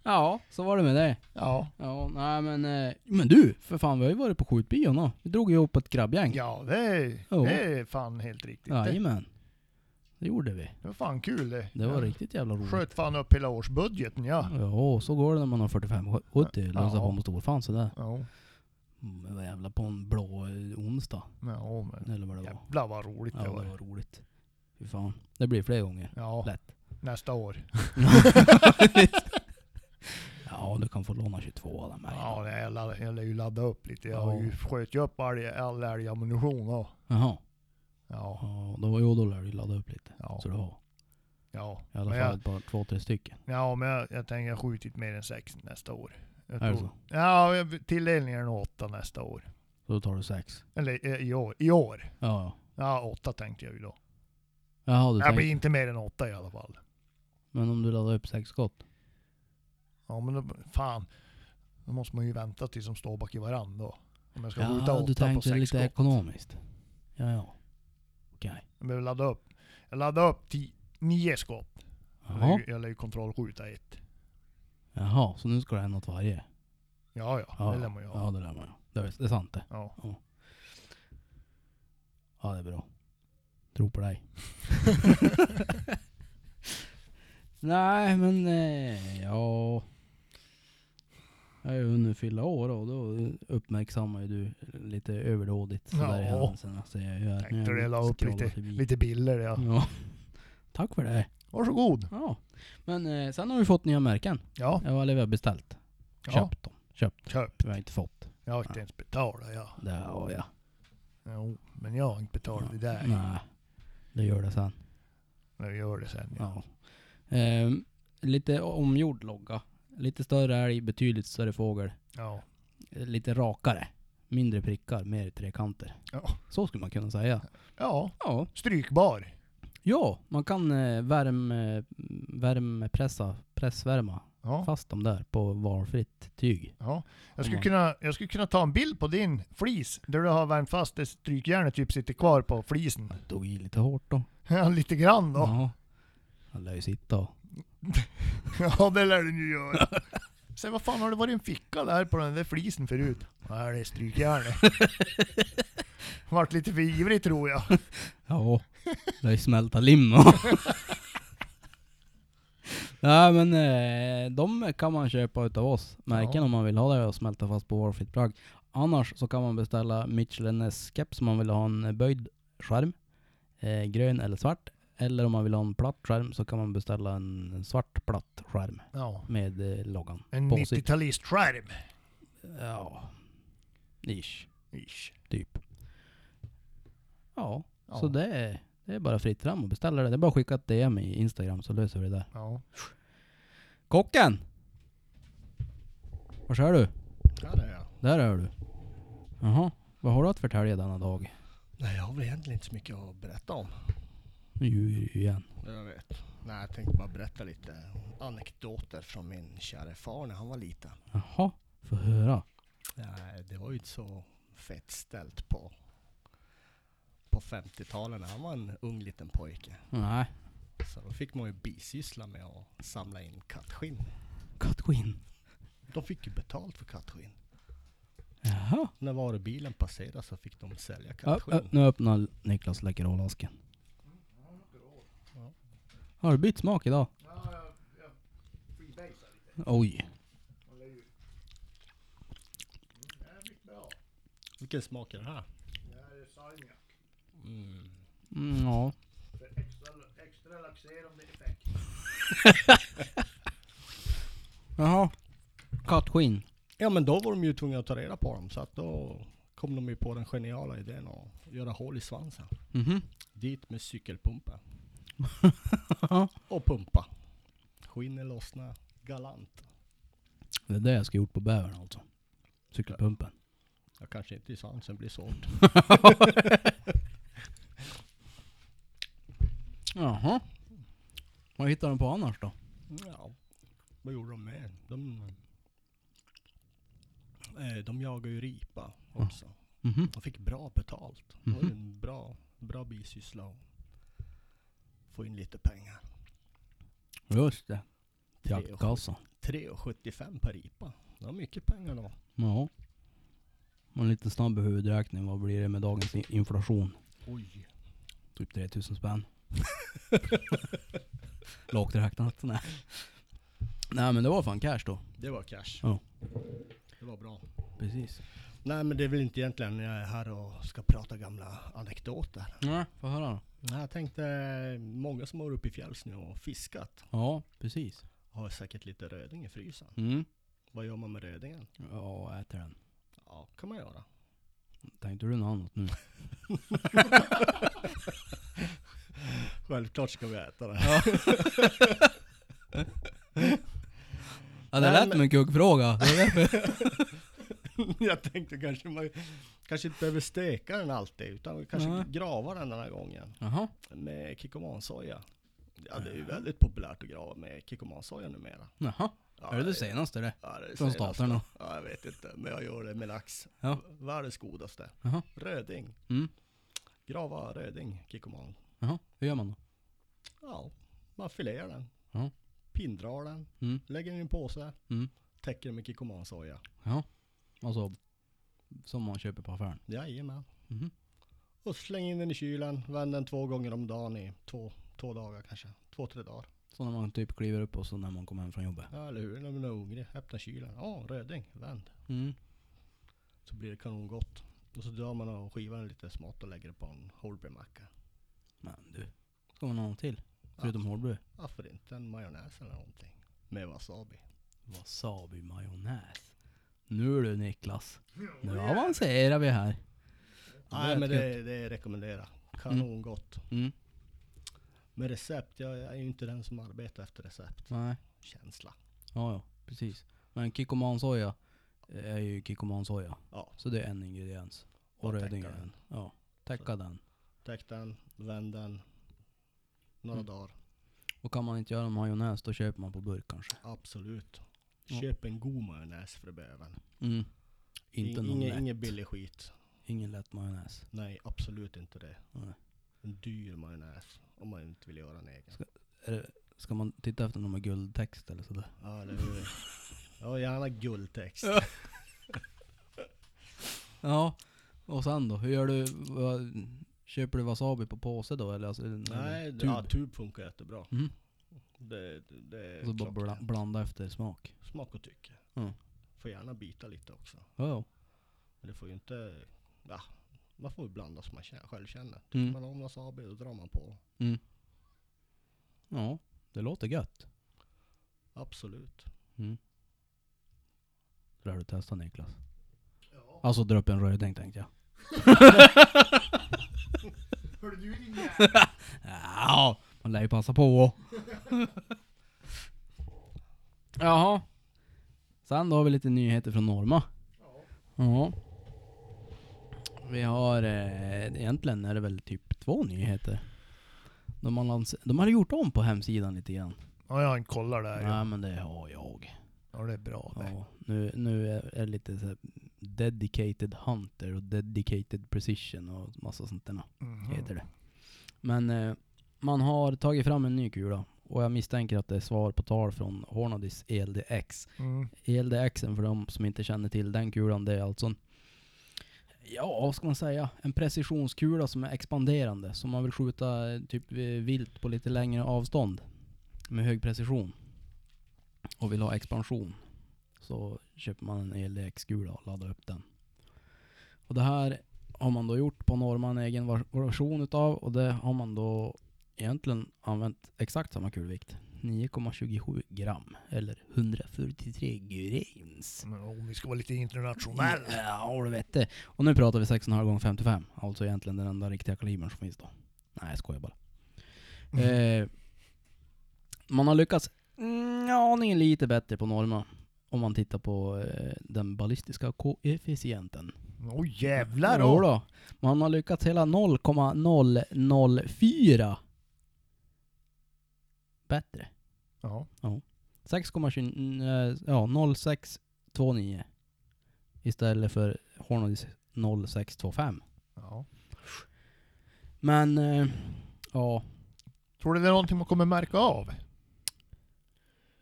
Speaker 1: ja, så var det med det.
Speaker 2: Ja.
Speaker 1: Ja, nej men... eh, Men du! För fan, vi har ju varit på skjutbion då. Vi drog ju ihop ett grabbgäng.
Speaker 2: Ja, det är,
Speaker 1: Ja.
Speaker 2: det är fan helt riktigt. Det,
Speaker 1: Jajamän. Det gjorde vi.
Speaker 2: det var fan kul det.
Speaker 1: Det var
Speaker 2: Ja.
Speaker 1: riktigt jävla roligt.
Speaker 2: Sköt fan upp hela årsbudgeten ja.
Speaker 1: Ja, så går det när man har 45 och 70. Lösa
Speaker 2: Ja.
Speaker 1: på med storfan sådär.
Speaker 2: Ja.
Speaker 1: Mm, vad jävla på en blå eh, onsdag.
Speaker 2: Ja men.
Speaker 1: Eller vad det var.
Speaker 2: Jävlar vad roligt
Speaker 1: Ja,
Speaker 2: det
Speaker 1: det
Speaker 2: var.
Speaker 1: var roligt. Fy fan. Det blir fler gånger.
Speaker 2: Ja.
Speaker 1: Lätt.
Speaker 2: Nästa år.
Speaker 1: ja, du kan få låna 22 av mig.
Speaker 2: Ja, nej, jag laddar- jag lär ju ladda upp lite. Jag
Speaker 1: Ja.
Speaker 2: har ju sköt ju upp all, all älgammunition då.
Speaker 1: Jaha.
Speaker 2: Ja.
Speaker 1: Ja, då, jo, då lär du ladda upp lite.
Speaker 2: Ja.
Speaker 1: Så du har.
Speaker 2: Ja.
Speaker 1: I alla
Speaker 2: Men
Speaker 1: fall
Speaker 2: jag-
Speaker 1: ett par, två, tre stycken.
Speaker 2: Ja, men jag, jag tänker jag har skjutit mer än sex nästa år. Jag
Speaker 1: Är det
Speaker 2: tror-
Speaker 1: så?
Speaker 2: Ja, jag- tilldelningen är nog åtta nästa år.
Speaker 1: Så då tar du sex.
Speaker 2: Eller eh, i år. I år.
Speaker 1: Ja, ja.
Speaker 2: Ja, åtta tänkte jag ju då.
Speaker 1: Jaha, du
Speaker 2: Jag
Speaker 1: tänker.
Speaker 2: blir inte mer än åtta i alla fall.
Speaker 1: Men om du laddar upp sex skott?
Speaker 2: Ja, men då, fan. Då måste man ju vänta tills de står bak i varann då. Om jag ska skjuta
Speaker 1: Ja,
Speaker 2: åtta
Speaker 1: du
Speaker 2: på
Speaker 1: tänkte
Speaker 2: sex
Speaker 1: lite
Speaker 2: skott.
Speaker 1: ekonomiskt. Ja, ja. Okej.
Speaker 2: Jag behöver ladda upp. Jag laddar upp tio, nio skott. Jag lär
Speaker 1: Jaha.
Speaker 2: ju- Jag lär ju kontrollskjuta ett.
Speaker 1: Jaha, så nu ska det hända åt varje?
Speaker 2: Ja, ja.
Speaker 1: Ja,
Speaker 2: Det lär man ju
Speaker 1: Ja,
Speaker 2: ha.
Speaker 1: det lär man ju. Det är- det är sant det.
Speaker 2: Ja.
Speaker 1: Ja, det är bra. Tro på dig. Nej, men eh, ja... Jag har ju hunnit fylla år och då uppmärksammar ju du lite överdådigt sådär i
Speaker 2: Ja.
Speaker 1: händelserna. Så jag gör.
Speaker 2: Tänkte du la upp
Speaker 1: scrollar
Speaker 2: lite,
Speaker 1: förbi. Mm.
Speaker 2: lite bilder ja.
Speaker 1: Ja. Tack för det.
Speaker 2: Varsågod.
Speaker 1: Ja. Men eh, sen har vi fått nya märken.
Speaker 2: Ja.
Speaker 1: Ja, eller vi har beställt.
Speaker 2: ja.
Speaker 1: Köpt dem. Köpt.
Speaker 2: Köp.
Speaker 1: Vi har inte fått.
Speaker 2: Jag har inte ens betalat ja.
Speaker 1: Det har jag.
Speaker 2: Jo, men jag har inte betalat det där.
Speaker 1: Nej. Det gör det sen.
Speaker 2: Men vi gör det sen. Ja.
Speaker 1: Ja. Ehm, lite omgjord logga. Lite större älg, betydligt större fågel.
Speaker 2: Ja.
Speaker 1: Eh, Lite rakare. Mindre prickar, mer trekanter.
Speaker 2: Ja.
Speaker 1: Så skulle man kunna säga.
Speaker 2: ja.
Speaker 1: Ja,
Speaker 2: Strykbar.
Speaker 1: ja man kan eh, värm, eh, värmepressa, pressvärma
Speaker 2: Ja,
Speaker 1: Fast dem där på valfritt tyg.
Speaker 2: ja. Jag,
Speaker 1: Om
Speaker 2: skulle
Speaker 1: man-
Speaker 2: kunna, jag skulle kunna ta en bild på din flis, där du har värmt fast det strykjärnet typ sitter kvar på flisen.
Speaker 1: Tog i lite hårt då.
Speaker 2: Ja, lite grann då.
Speaker 1: Ja. Han lär ju sitta och...
Speaker 2: Ja, det lär den ju göra. Sen vad fan har det varit en ficka där på den där flisen förut? Nej, det är strykjärnet. Vart lite för ivrig tror jag.
Speaker 1: Ja, lär ju smälta lim och... Nej men eh, de kan man köpa utav oss. Märken
Speaker 2: Ja.
Speaker 1: om man vill ha det och smälta fast på valfritt plagg. Annars så kan man beställa Michelin S-keps om man vill ha en böjd skärm. Eh, grön eller svart. Eller om man vill ha en platt skärm så kan man beställa en svart platt skärm
Speaker 2: Ja,
Speaker 1: med eh, loggan.
Speaker 2: en
Speaker 1: På sitt-
Speaker 2: 90-talistskärm.
Speaker 1: Ja, ish,
Speaker 2: Ish.
Speaker 1: typ. Ja,
Speaker 2: Ja.
Speaker 1: så det är, det är bara fritt fram och beställa det. Det är bara att skicka ett DM i Instagram så löser vi det där.
Speaker 2: Ja.
Speaker 1: Kocken! Vad kör du?
Speaker 3: Ja, det är jag.
Speaker 1: Där är du. Jaha, vad har du att förtälja denna dag?
Speaker 3: Nej, jag har väl egentligen inte så mycket att berätta om.
Speaker 1: Djur igen.
Speaker 3: Jag vet. Nej, jag tänkte bara berätta lite anekdoter från min kära far när han var liten.
Speaker 1: Jaha, få höra.
Speaker 3: Nej, det var ju inte så fett ställt på, på 50-talet när han var en ung liten pojke.
Speaker 1: Nej,
Speaker 3: Så då fick man ju bisyssla med att samla in kattskinn.
Speaker 1: kattskinn.
Speaker 3: De fick ju betalt för kattskinn.
Speaker 1: Jaha.
Speaker 3: När varubilen passerade så fick de sälja
Speaker 1: Ja,
Speaker 3: kattskinn.
Speaker 1: ö, nu öppnar Niklas Läkerol-asken. Har du bytt smak idag? Oj.
Speaker 3: Vilken smak är det här? Mm.
Speaker 1: Mm, ja.
Speaker 2: Extra laxerande effekt.
Speaker 1: Jaha. Kattskinn.
Speaker 3: Ja men då var de ju tvungna att ta reda på dem, så att då kom de ju på den geniala idén att göra hål i svansen.
Speaker 1: Mhm.
Speaker 3: Dit med cykelpumpa. och pumpa. Skinnet lossna galant.
Speaker 1: Det är det jag ska gjort på bävern alltså. Cykelpumpen.
Speaker 3: Jag kanske inte i svansen blir sånt.
Speaker 1: Jaha. Vad hittar de på annars då?
Speaker 3: Ja, vad gjorde de med? De, eh, de jagade ju ripa också.
Speaker 1: Mhm.
Speaker 3: De fick bra betalt. Det var ju
Speaker 1: Mhm.
Speaker 3: en bra, bra bisyssla att få in lite pengar.
Speaker 1: Just det. Till
Speaker 3: Tre och
Speaker 1: Jaktkassan.
Speaker 3: 3,75 per ripa. Det var mycket pengar då.
Speaker 1: Ja. Och lite snabb huvudräkning. Vad blir det med dagens i- inflation?
Speaker 3: Oj.
Speaker 1: Typ 3000 spänn. Lågt räknat. Nej. Nej men det var fan cash då.
Speaker 3: Det var cash.
Speaker 1: Ja.
Speaker 3: Det var bra.
Speaker 1: Precis.
Speaker 3: Nej men det är väl inte egentligen jag är här och ska prata gamla anekdoter.
Speaker 1: Ja, få höra då.
Speaker 3: Nej, jag tänkte, eh, många som har varit uppe i fjälls nu och fiskat
Speaker 1: Ja, precis.
Speaker 3: har säkert lite röding i frysen.
Speaker 1: Mm.
Speaker 3: Vad gör man med rödingen?
Speaker 1: Ja, äter den.
Speaker 3: Ja, kan man göra.
Speaker 1: Tänkte du något annat nu?
Speaker 3: Självklart ska vi äta det.
Speaker 1: Ja,
Speaker 3: Nej,
Speaker 1: det lät
Speaker 3: men-
Speaker 1: som en kuggfråga.
Speaker 3: jag tänkte kanske man kanske inte behöver steka den alltid, utan vi kanske
Speaker 1: Nej.
Speaker 3: grava den den här gången
Speaker 1: Jaha.
Speaker 3: med kikomansoja. Ja, det är ju väldigt populärt att grava med kikomansoja numera.
Speaker 1: Jaha.
Speaker 3: Ja,
Speaker 1: är det det senaste det?
Speaker 3: Ja, det är
Speaker 1: Från
Speaker 3: senaste.
Speaker 1: staterna?
Speaker 3: Ja, jag vet inte, men jag gör det med lax.
Speaker 1: Ja.
Speaker 3: Världens godaste.
Speaker 1: Jaha.
Speaker 3: Röding.
Speaker 1: Mm.
Speaker 3: Grava röding, kikoman.
Speaker 1: Jaha. Hur gör man då?
Speaker 3: Ja, man filear den.
Speaker 1: Ja.
Speaker 3: Pindrar den.
Speaker 1: Mm.
Speaker 3: Lägger den i en påse.
Speaker 1: Mm.
Speaker 3: Täcker den med kikomansoja.
Speaker 1: Jaha. Alltså, som man köper på affären?
Speaker 3: Jajamän.
Speaker 1: Mhm.
Speaker 3: Och släng in den i kylen. Vänd den två gånger om dagen i två, två dagar kanske. Två, tre dagar.
Speaker 1: Så när man typ kliver upp och så när man kommer hem från jobbet?
Speaker 3: Ja, eller hur? När man är hungrig. Öppna kylen. Ja, röding. Vänd.
Speaker 1: Mm.
Speaker 3: Så blir det kanongott. Och så drar man och skivar den lite smått och lägger det på en hårdbrödmacka.
Speaker 1: Men du. Ska man ha något till?
Speaker 3: Alltså.
Speaker 1: Förutom hårdbröd?
Speaker 3: Varför inte en majonnäs eller någonting? Med wasabi.
Speaker 1: Wasabi majonnäs. Nu du Niklas. Nu avancerar vi här.
Speaker 3: Nej
Speaker 1: lät
Speaker 3: men det, det rekommenderar. Kanongott.
Speaker 1: Mm.
Speaker 3: Med recept, jag är ju inte den som arbetar efter recept.
Speaker 1: Nej.
Speaker 3: Känsla.
Speaker 1: Ja, ja. Precis. Men kikkomansoja är ju kikkomansoja.
Speaker 3: Ja.
Speaker 1: Så det är en ingrediens. Och
Speaker 3: Och täcka
Speaker 1: röding är
Speaker 3: den.
Speaker 1: en. Ja. Täcka den. Mm.
Speaker 3: Täck den, vänd den. Några dagar.
Speaker 1: Och kan man inte göra en majonnäs, då köper man på burk kanske.
Speaker 3: Absolut.
Speaker 1: Ja.
Speaker 3: Köp en god majonnäs för böven.
Speaker 1: Mm. Inte någon
Speaker 3: ingen,
Speaker 1: lätt,
Speaker 3: ingen billig skit.
Speaker 1: ingen lätt majonnäs.
Speaker 3: Nej, absolut inte det.
Speaker 1: Nej.
Speaker 3: En dyr majonnäs. Om man inte vill göra en egen.
Speaker 1: Är det, ska man titta efter någon med guldtext eller sådär?
Speaker 3: Ja, eller hur? Ja, gärna guldtext.
Speaker 1: Ja. Ja. Och sen då? Hur gör du? Vad, köper du wasabi på påse då? Eller alltså,
Speaker 3: Nej,
Speaker 1: eller
Speaker 3: tub.
Speaker 1: tub?
Speaker 3: Ja, tub funkar jättebra.
Speaker 1: Mm.
Speaker 3: Det, det är
Speaker 1: Och så bara
Speaker 3: klockrent.
Speaker 1: bla, blanda efter smak.
Speaker 3: Smak och tycke.
Speaker 1: Mm.
Speaker 3: Får gärna bita lite också.
Speaker 1: Ja, ja.
Speaker 3: Men det får ju inte... Ja, man får ju blanda som man känner, själv känner. Tycker
Speaker 1: Mm.
Speaker 3: man om wasabi, då drar man på.
Speaker 1: ja, det låter gött.
Speaker 3: Absolut.
Speaker 1: Det lär du testa Niklas.
Speaker 2: Ja.
Speaker 1: Alltså dra upp en röding tänkte jag.
Speaker 2: Hör du din jävel?
Speaker 1: Ja, man lär ju passa på. Jaha. Sen då har vi lite nyheter från Norma. Ja. Vi har, eh, egentligen är det väl typ två nyheter. De har, lans- de har gjort om på hemsidan lite grann.
Speaker 2: Ja, jag har en kollar där.
Speaker 1: Nej
Speaker 2: Ja.
Speaker 1: men det har jag.
Speaker 2: ja, det är bra det.
Speaker 1: Ja, nu, nu är är det lite så här dedicated hunter och dedicated precision och massa sånt där
Speaker 2: Mhm.
Speaker 1: heter det. Men eh, man har tagit fram en ny kula och jag misstänker att det är svar på tal från Hornadys ELDX.
Speaker 2: Mm.
Speaker 1: ELDXen för de som inte känner till den kulan, det är alltså en Ja, vad ska man säga? En precisionskula som är expanderande. Så man vill skjuta eh, typ eh, vilt på lite längre avstånd. Med hög precision. Och vill ha expansion. Så köper man en ELDX-kula och laddar upp den. Och det här har man då gjort på Norman egen var- version utav. Och det har man då egentligen använt exakt samma kulvikt. 9,27 gram. Eller 143 grams.
Speaker 2: Men om vi ska vara lite internationella.
Speaker 1: Ja, du vet det. Och nu pratar vi 6,5 gånger 55. Alltså egentligen den enda riktiga kalibern som finns då. Nej, jag skojar bara. Eh, man har lyckats mm, aningen lite bättre på Norma. Om man tittar på eh, den ballistiska koefficienten.
Speaker 2: Åh jävlar
Speaker 1: Jo
Speaker 2: då.
Speaker 1: då. Man har lyckats hela 0,004 bättre.
Speaker 2: Ja.
Speaker 1: 6,29, eh, ja 0629 istället för Hornadys 0625.
Speaker 2: ja.
Speaker 1: Men eh, ja,
Speaker 2: Tror du det är någonting man kommer märka av?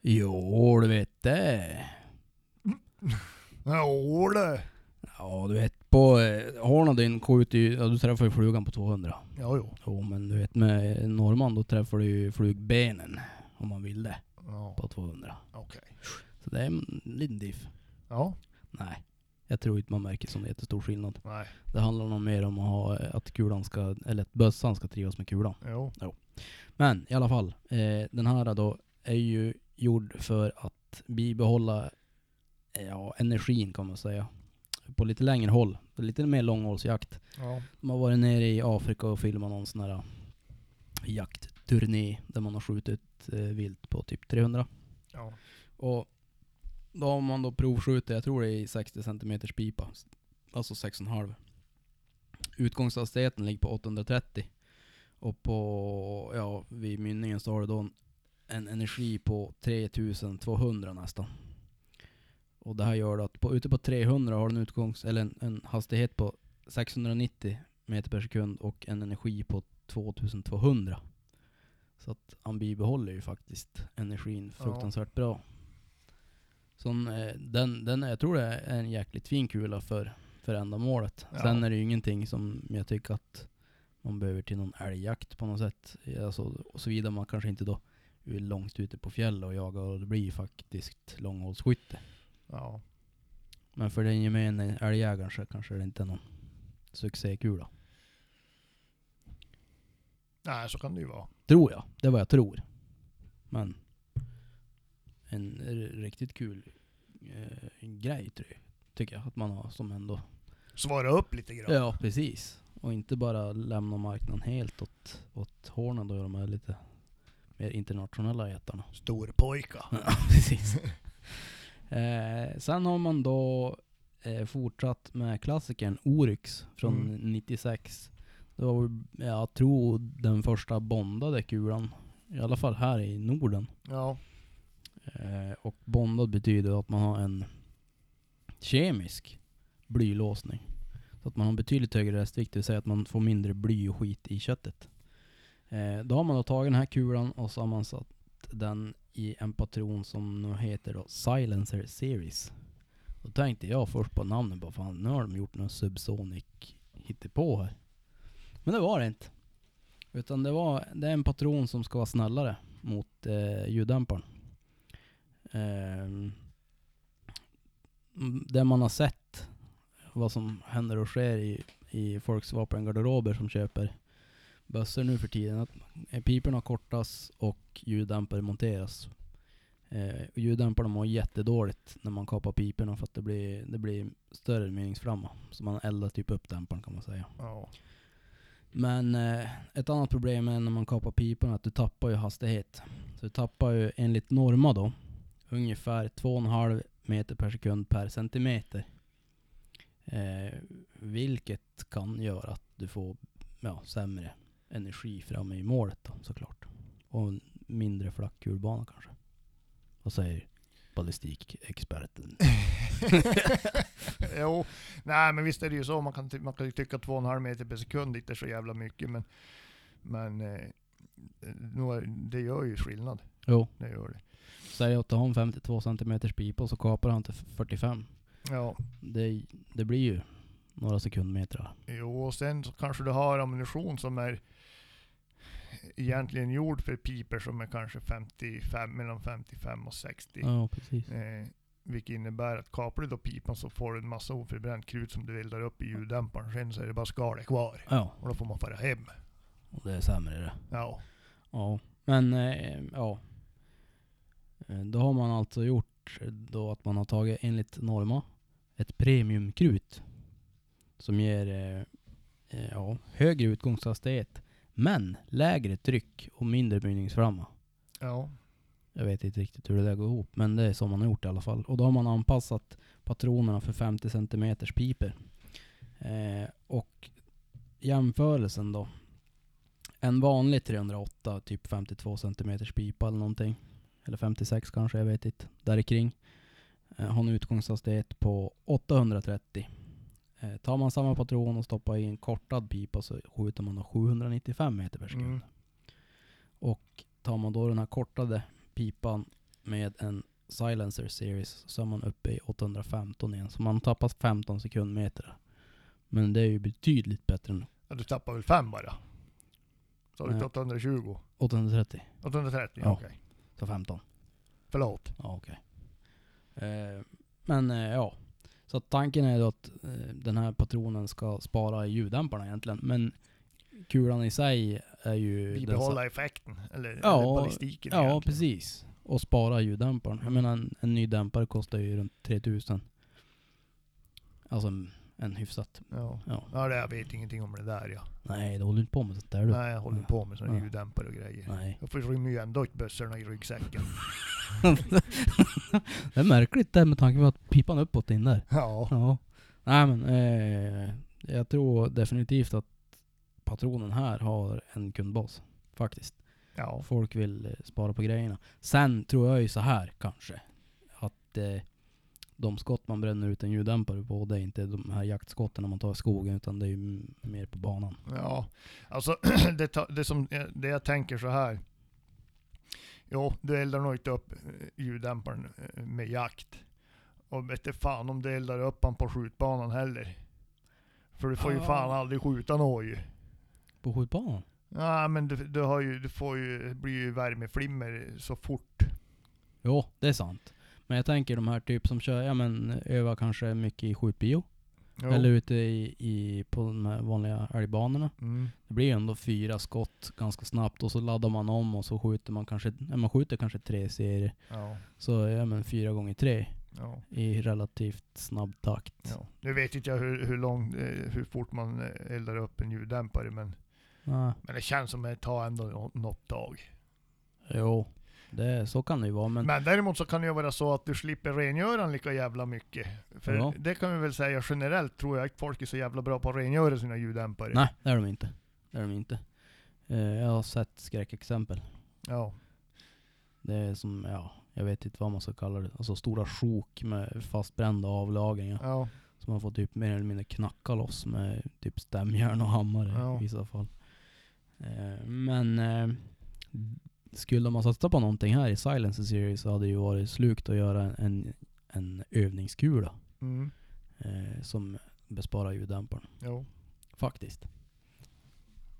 Speaker 1: jo du vet det.
Speaker 2: Ja, du.
Speaker 1: Ja du vet på eh, Hornadyn skjuter ju, ja, du träffar ju flugan på 200.
Speaker 2: Ja, jo.
Speaker 1: Jo men du vet med norrman då träffar du ju flugbenen om man vill det
Speaker 2: Ja,
Speaker 1: på 200.
Speaker 2: okej.
Speaker 1: Så det är en liten diff.
Speaker 2: Ja,
Speaker 1: Nej, jag tror inte man märker som jättestor skillnad.
Speaker 2: nej.
Speaker 1: Det handlar nog mer om att, ha, eh, att kulan ska, eller att bössan ska trivas med kulan.
Speaker 2: Jo.
Speaker 1: Men i alla fall, eh, den här då är ju gjord för att bibehålla eh, ja, energin kan man säga. På lite längre håll, lite mer långhållsjakt.
Speaker 2: Ja.
Speaker 1: De har varit nere i Afrika och filmat någon sån här eh, jaktturné där man har skjutit eh, vilt på typ 300.
Speaker 2: Ja.
Speaker 1: Och då har man då provskjutit, jag tror det är i 60 cm pipa. Alltså 6,5. Utgångshastigheten ligger på 830. Och på, ja, vid mynningen så har du då en, en energi på 3200 nästan. Och det här gör då att på, ute på 300 har du en utgångs, eller en, en hastighet på 690 meter per sekund och en energi på 2200. Så att han bibehåller ju faktiskt energin
Speaker 2: Ja.
Speaker 1: fruktansvärt bra. Som, eh, den, den, jag tror det är en jäkligt fin kula för, för ändamålet.
Speaker 2: Ja.
Speaker 1: Sen är det ju ingenting som jag tycker att man behöver till någon älgjakt på något sätt. Alltså, och såvida man kanske inte då är långt ute på fjället och jagar och det blir ju faktiskt långhållsskytte.
Speaker 2: Ja.
Speaker 1: Men för den gemene älgjägaren så kanske det inte är någon succékula.
Speaker 2: Nej, så kan det ju vara.
Speaker 1: Tror jag. Det är vad jag tror. Men en r- riktigt kul eh, grej tror jag, tycker jag att man har som ändå...
Speaker 2: Svara upp lite
Speaker 1: Ja,
Speaker 2: grann.
Speaker 1: ja precis. Och inte bara lämna marknaden helt åt, åt Hornad och de här lite mer internationella jättarna.
Speaker 2: Storpojka.
Speaker 1: Ja, precis. eh, sen har man då eh, fortsatt med klassikern Oryx från
Speaker 2: Mm.
Speaker 1: 96. Det var, väl, jag tror, den första bondade kulan I alla fall här i Norden.
Speaker 2: Ja.
Speaker 1: Eh, och bondad betyder att man har en kemisk blylåsning. Så att man har en betydligt högre restvikt, det vill säga att man får mindre bly och skit i köttet. Eh, då har man då tagit den här kulan och så har man satt den i en patron som nu heter då Silencer Series. Då tänkte jag först på namnet bara fan nu har de gjort någon subsonic hittepå här. Men det var det inte. Utan det, var, det är en patron som ska vara snällare mot eh, ljuddämparen. Ehm, m- det man har sett, vad som händer och sker i, i folks vapengarderober som köper bössor nu för tiden, att eh, piporna kortas och ljuddämpare monteras. Eh, och ljuddämparna mår jättedåligt när man kapar piporna för att det blir, det blir större meningsflamma. Så man eldar typ upp dämparen kan man säga.
Speaker 2: ja.
Speaker 1: Men eh, ett annat problem är när man kapar piporna att du tappar ju hastighet. Så du tappar ju enligt Norma då ungefär 2,5 meter per sekund per centimeter. Eh, vilket kan göra att du får ja, sämre energi framme i målet då, såklart. Och en mindre flack kulbana kanske. Vad säger ballistikexperten?
Speaker 2: jo. Nej men visst är det ju så. Man kan, ty- man kan ju tycka att 2,5 meter per sekund inte är så jävla mycket. Men, men eh, nog är- det gör ju skillnad.
Speaker 1: Jo,
Speaker 2: Det gör det.
Speaker 1: säg att du har en 52 centimeters pipa och så kapar han till 45.
Speaker 2: Ja.
Speaker 1: Det, det blir ju några sekundmetrar.
Speaker 2: Jo, och sen så kanske du har ammunition som är egentligen gjord för piper som är kanske 55, mellan 55 och 60.
Speaker 1: Ja, precis.
Speaker 2: Eh, vilket innebär att kapar du då pipan så får du en massa oförbränt krut som du eldar upp i ljuddämparen. Sen så är det bara skalet kvar.
Speaker 1: Ja,
Speaker 2: Och då får man fara hem.
Speaker 1: och det är sämre det.
Speaker 2: Ja.
Speaker 1: Ja, men eh, ja. Eh, Då har man alltså gjort eh, då att man har tagit enligt Norma ett premiumkrut som ger eh, eh, ja, högre utgångshastighet men lägre tryck och mindre mynningsflamma.
Speaker 2: Ja.
Speaker 1: Jag vet inte riktigt hur det där går ihop men det är som man har gjort i alla fall. Och då har man anpassat patronerna för 50 cm piper. Eh, och jämförelsen då. En vanlig 308, typ 52 cm pipa eller någonting. Eller 56 kanske, jag vet inte. Där kring. Eh, har en utgångshastighet på 830. Eh, tar man samma patron och stoppar i en kortad pipa så skjuter man då 795 meter per sekund.
Speaker 2: Mm.
Speaker 1: Och tar man då den här kortade pipan med en Silencer Series så är man uppe i 815 igen. Så man tappar 15 sekundmeter. Men det är ju betydligt bättre än
Speaker 2: ja du tappar väl fem bara? Så har du
Speaker 1: Nej.
Speaker 2: 820?
Speaker 1: 830.
Speaker 2: 830?
Speaker 1: Ja.
Speaker 2: Okej.
Speaker 1: Så 15.
Speaker 2: Förlåt.
Speaker 1: Ja, okej. Eh, men eh, ja. Så att tanken är då att eh, den här patronen ska spara i ljuddämparna egentligen. Men kulan i sig är ju... densa-
Speaker 2: Bibehålla effekten. Eller,
Speaker 1: Ja,
Speaker 2: eller ballistiken
Speaker 1: Ja,
Speaker 2: egentligen.
Speaker 1: precis. Och spara ljuddämparen. Jag menar en, en ny dämpare kostar ju runt 3000. Alltså en, en hyfsat.
Speaker 2: Ja.
Speaker 1: Ja.
Speaker 2: Ja, det, jag vet ingenting om det där ja.
Speaker 1: Nej, det håller inte på med sånt där du.
Speaker 2: Nej, jag håller på med sådana
Speaker 1: Ja.
Speaker 2: ljuddämpare och grejer.
Speaker 1: Nej.
Speaker 2: Jag får rymma ju ändå inte bössorna i ryggsäcken.
Speaker 1: det är märkligt där med tanke på att pipan uppåt in där.
Speaker 2: Ja.
Speaker 1: Ja. Nej men eh, jag tror definitivt att patronen här har en kundbas. Faktiskt.
Speaker 2: Ja.
Speaker 1: Folk vill eh, spara på grejerna. Sen tror jag ju så här kanske. Att eh, de skott man bränner ut en ljuddämpare på det är inte de här jaktskotten man tar i skogen utan det är ju m- mer på banan.
Speaker 2: Ja, alltså det, ta- det, som, eh, det jag tänker så här. Jo, du eldar nog inte upp eh, ljuddämparen eh, med jakt. Och vet du fan om du eldar upp han på skjutbanan heller. För du får ju
Speaker 1: Ja.
Speaker 2: fan aldrig skjuta något ju.
Speaker 1: På skjutbanan?
Speaker 2: Nej men du, du, har ju, du får ju, det blir ju värmeflimmer eh, så fort.
Speaker 1: Jo, det är sant. Men jag tänker de här typ som kör, ja men övar kanske mycket i skjutbio.
Speaker 2: Jo.
Speaker 1: Eller ute i, i, på de här vanliga älgbanorna.
Speaker 2: Mm.
Speaker 1: Det blir ju ändå fyra skott ganska snabbt och så laddar man om och så skjuter man kanske, ja, man skjuter kanske tre serier.
Speaker 2: Ja.
Speaker 1: Så ja men fyra gånger tre
Speaker 2: Ja.
Speaker 1: i relativt snabb takt.
Speaker 2: Ja. Nu vet inte jag hur, hur, lång, eh, hur fort man eh, eldar upp en ljuddämpare men,
Speaker 1: Ja.
Speaker 2: men det känns som att det tar ändå nå- något dag.
Speaker 1: Jo, det, så kan det ju vara men,
Speaker 2: Men, däremot så kan det ju vara så att du slipper rengöra den lika jävla mycket. För
Speaker 1: Ja.
Speaker 2: det kan vi väl säga generellt tror jag att folk är så jävla bra på att rengöra sina ljuddämpare.
Speaker 1: nej det är de inte. Det är de inte. Eh, jag har sett skräckexempel.
Speaker 2: Ja.
Speaker 1: Det är som, ja, jag vet inte vad man ska kalla det. Alltså stora sjok med fastbrända avlagringar.
Speaker 2: Ja.
Speaker 1: Så man får typ mer eller mindre knacka loss med typ stämjärn och hammare
Speaker 2: Ja.
Speaker 1: i vissa fall. Eh, men eh, skulle man satsa på någonting här i Silence Series så hade det ju varit slukt att göra en, en övningskula
Speaker 2: Mm.
Speaker 1: eh, som besparar ljuddämparen.
Speaker 2: Jo.
Speaker 1: Faktiskt.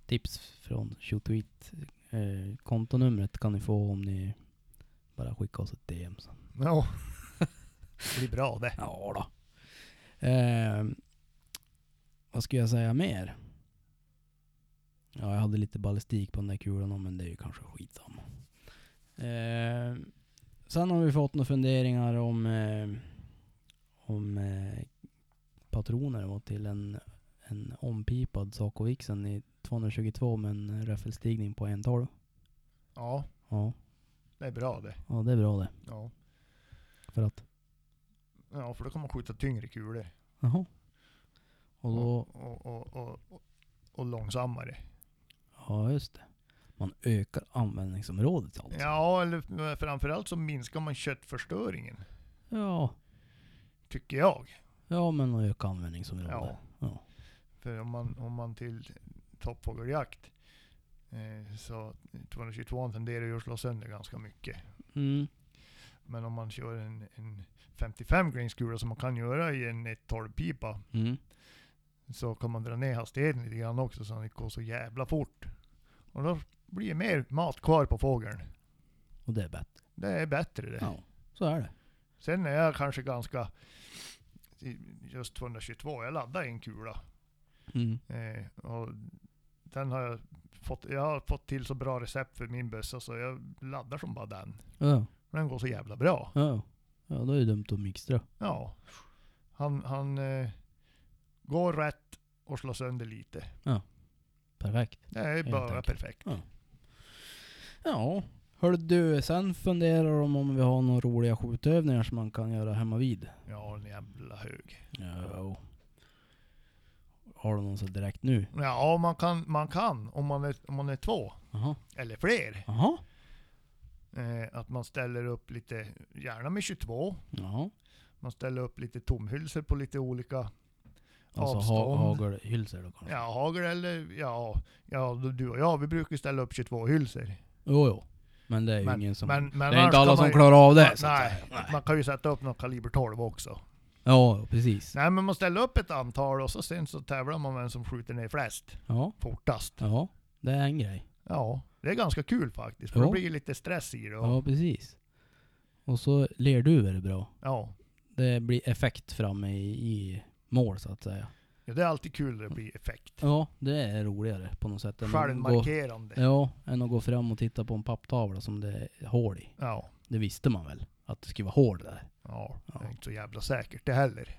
Speaker 1: Tips från Shootweet. Eh, kontonumret kan ni få om ni bara skickar oss ett DM sen.
Speaker 2: Ja. Det blir bra det.
Speaker 1: Ja då. Eh, vad ska jag säga mer? Ja, jag hade lite ballistik på den där kulan om, men det är ju kanske skitsamma. Eh, sen har vi fått några funderingar om, eh, om eh, patroner och till en, en ompipad Saco Vixen i 222 med en räffelstigning på 112.
Speaker 2: Ja,
Speaker 1: Ja,
Speaker 2: det är bra det.
Speaker 1: ja, det är bra det.
Speaker 2: Ja.
Speaker 1: För att
Speaker 2: Ja, för då kan man skjuta tyngre kulor.
Speaker 1: Jaha. Och då,
Speaker 2: och, och, och, och, och långsammare.
Speaker 1: ja just det. Man ökar användningsområdet alltså.
Speaker 2: Ja, eller eh, framförallt så minskar man köttförstöringen.
Speaker 1: Ja,
Speaker 2: Tycker jag.
Speaker 1: ja men att öka användningsområdet.
Speaker 2: Ja.
Speaker 1: Ja.
Speaker 2: För om man, om man till toppfågeljakt eh, så 222 tenderar ju att slå sönder ganska mycket.
Speaker 1: Mm.
Speaker 2: Men om man kör en, en 55 grainskulla som man kan göra i en 12 pipa
Speaker 1: Mm.
Speaker 2: så kan man dra ner hastigheten lite grann också så att det inte går så jävla fort. Och då blir det mer mat kvar på fågeln.
Speaker 1: Och det är bättre.
Speaker 2: Det är bättre det.
Speaker 1: Ja, så är det.
Speaker 2: Sen är jag kanske ganska... Just 222, jag laddar en kula.
Speaker 1: Mm.
Speaker 2: Eh, och den har jag, fått, jag har fått till så bra recept för min bössa så jag laddar som bara den.
Speaker 1: Ja,
Speaker 2: Den går så jävla bra.
Speaker 1: ja. Ja, då är det dumt att mixtra.
Speaker 2: Ja. Han, han eh, går rätt och slår sönder lite.
Speaker 1: Perfekt.
Speaker 2: Det är bara
Speaker 1: enkelt.
Speaker 2: perfekt.
Speaker 1: Ja. Hör du, sen funderar de om vi har några roliga skjutövningar som man kan göra hemma vid.
Speaker 2: Ja, en jävla hög.
Speaker 1: Ja. Har de någon så direkt nu?
Speaker 2: Ja, man kan, man kan om, man är, om man är två
Speaker 1: Jaha.
Speaker 2: eller fler.
Speaker 1: Jaha.
Speaker 2: Eh, att man ställer upp lite, gärna med 22.
Speaker 1: Ja.
Speaker 2: Man ställer upp lite tomhylsor på lite olika
Speaker 1: Alltså ha,
Speaker 2: Avstånd.
Speaker 1: hagelhylsor då kanske?
Speaker 2: Ja, hagel eller ja, ja, du och jag vi brukar ju ställa upp 22 hylsor.
Speaker 1: Jo, jo. Men det är ju
Speaker 2: Men-
Speaker 1: ingen som...
Speaker 2: men- men
Speaker 1: det är
Speaker 2: annars
Speaker 1: inte alla
Speaker 2: kan
Speaker 1: som
Speaker 2: man ju-
Speaker 1: klarar av det.
Speaker 2: Nej,
Speaker 1: så att
Speaker 2: nej,
Speaker 1: säga. nej.
Speaker 2: man kan ju sätta upp någon kaliber 12 också.
Speaker 1: Ja, precis.
Speaker 2: Nej men man ställer upp ett antal och så sen så tävlar man vem som skjuter ner flest
Speaker 1: Ja,
Speaker 2: fortast.
Speaker 1: ja. Det är en grej.
Speaker 2: Ja, det är ganska kul faktiskt. För
Speaker 1: Jo.
Speaker 2: det blir ju lite stress i det. Och,
Speaker 1: Ja, precis. Och så lerduvor är bra.
Speaker 2: ja.
Speaker 1: Det blir effekt framme i, i mål så att säga.
Speaker 2: ja, det är alltid kul när det blir effekt.
Speaker 1: Ja, det är roligare på något sätt. än att gå-
Speaker 2: Självmarkerande.
Speaker 1: Ja, än att gå fram och titta på en papptavla som det är hål i.
Speaker 2: Ja.
Speaker 1: Det visste man väl? Att det skulle vara hål där.
Speaker 2: Ja, det
Speaker 1: Ja.
Speaker 2: är inte så jävla säkert det heller.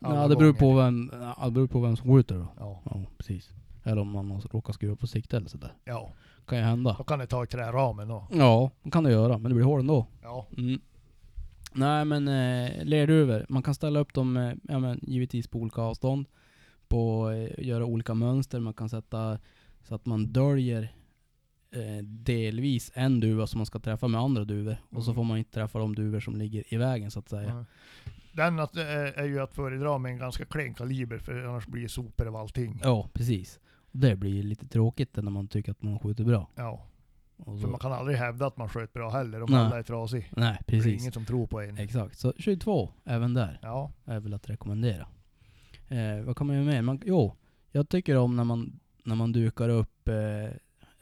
Speaker 2: Alla
Speaker 1: Ja, det beror
Speaker 2: gånger.
Speaker 1: på vem, ja, det beror på vem som skjuter då.
Speaker 2: Ja,
Speaker 1: Ja, precis. Eller om man råkar skruva på sikte eller sådär.
Speaker 2: ja.
Speaker 1: Kan ju hända.
Speaker 2: Då kan det ta i träramen och.
Speaker 1: Ja, det kan det göra. Men det blir hål ändå.
Speaker 2: Ja,
Speaker 1: Mm. Nej men eh, lerduvor. Man kan ställa upp dem eh, ja, men, givetvis på olika avstånd. På, eh, göra olika mönster. Man kan sätta så att man döljer eh, delvis en duva som man ska träffa med andra duvor. Och så
Speaker 2: Mm.
Speaker 1: får man inte träffa de duvor som ligger i vägen så att säga.
Speaker 2: Mm. Den att, eh, är ju att föredra med en ganska klen kaliber för annars blir det sopor av allting.
Speaker 1: Ja, precis. Och det blir ju lite tråkigt när man tycker att man skjuter bra.
Speaker 2: Ja,
Speaker 1: Och
Speaker 2: för
Speaker 1: så,
Speaker 2: man kan aldrig hävda att man sköt bra heller om
Speaker 1: Nej.
Speaker 2: alla är trasig.
Speaker 1: nej,
Speaker 2: Det är
Speaker 1: precis.
Speaker 2: ingen som tror på en.
Speaker 1: Exakt. Så 22, även där.
Speaker 2: Ja,
Speaker 1: är väl att rekommendera. Eh, vad kan man göra mer? Man, jo, jag tycker om när man, när man dukar upp eh,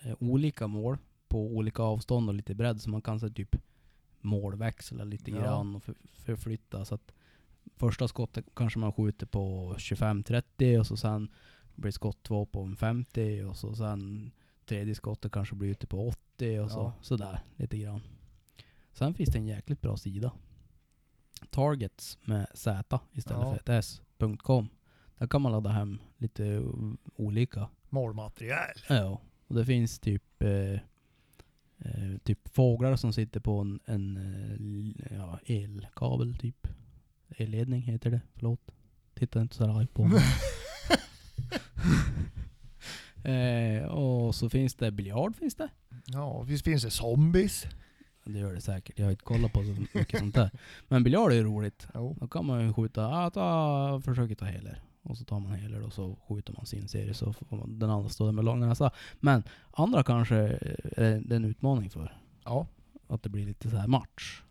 Speaker 1: eh, olika mål på olika avstånd och lite bredd så man kan så här typ målväxla lite
Speaker 2: Ja.
Speaker 1: grann och för, förflytta så att första skottet kanske man skjuter på 25-30 och så sen blir skott två på en 50 och så sen tredje skottet kanske blir ute på 80 och så
Speaker 2: Ja.
Speaker 1: sådär lite grann. Sen finns det en jäkligt bra sida. Targets med Z istället
Speaker 2: Ja.
Speaker 1: för ett S.com. Där kan man ladda hem lite o- olika.
Speaker 2: målmaterial.
Speaker 1: Ja, och det finns typ eh, eh, typ fåglar som sitter på en, en eh, l- ja, elkabel typ. Elledning heter det, förlåt. Titta inte så arg på mig. eh, och så finns det biljard finns det.
Speaker 2: Ja, visst finns det zombies?
Speaker 1: Det gör det säkert. Jag har inte kollat på så mycket sånt där. Men biljard är ju roligt.
Speaker 2: Jo.
Speaker 1: Då kan man ju skjuta, ah, ta, försöker ta heler. Och så tar man heler och så skjuter man sin serie så får man, den andra stå där med lång näsa. Men andra kanske eh, är det en utmaning för.
Speaker 2: Ja.
Speaker 1: Att det blir lite så här match.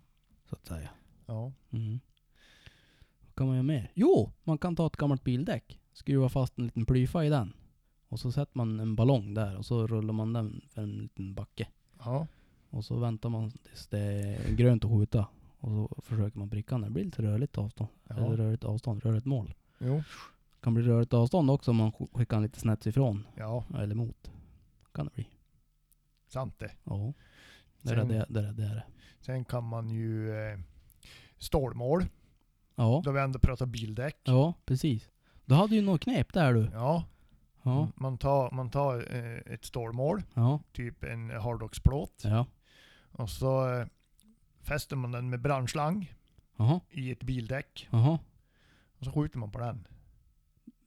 Speaker 1: Så att säga.
Speaker 2: ja.
Speaker 1: Mm. Vad kan man göra mer? Jo! Man kan ta ett gammalt bildäck. Skruva fast en liten plyfa i den. Och så sätter man en ballong där och så rullar man den för en liten backe.
Speaker 2: ja.
Speaker 1: Och så väntar man tills det är grönt att skjuta. Och så försöker man pricka den. Det blir lite rörligt avstånd.
Speaker 2: Ja.
Speaker 1: Eller rörligt avstånd, rörligt mål.
Speaker 2: Jo.
Speaker 1: kan bli rörligt avstånd också om man sk- skickar den lite snett ifrån.
Speaker 2: Ja,
Speaker 1: Eller mot. Kan det bli.
Speaker 2: sant det.
Speaker 1: Ja. Där är
Speaker 2: Sen-
Speaker 1: det, där är det, där är det.
Speaker 2: Sen kan man ju eh, stålmål,
Speaker 1: Ja.
Speaker 2: då vi ändå pratar bildäck.
Speaker 1: Ja, precis. Du hade ju något knep där du.
Speaker 2: Ja,
Speaker 1: Ja.
Speaker 2: Man tar, man tar eh, ett stålmål,
Speaker 1: Ja.
Speaker 2: typ en hardrocksplåt,
Speaker 1: Ja.
Speaker 2: och så eh, fäster man den med brandslang
Speaker 1: Jaha.
Speaker 2: i ett bildäck,
Speaker 1: Jaha.
Speaker 2: och så skjuter man på den.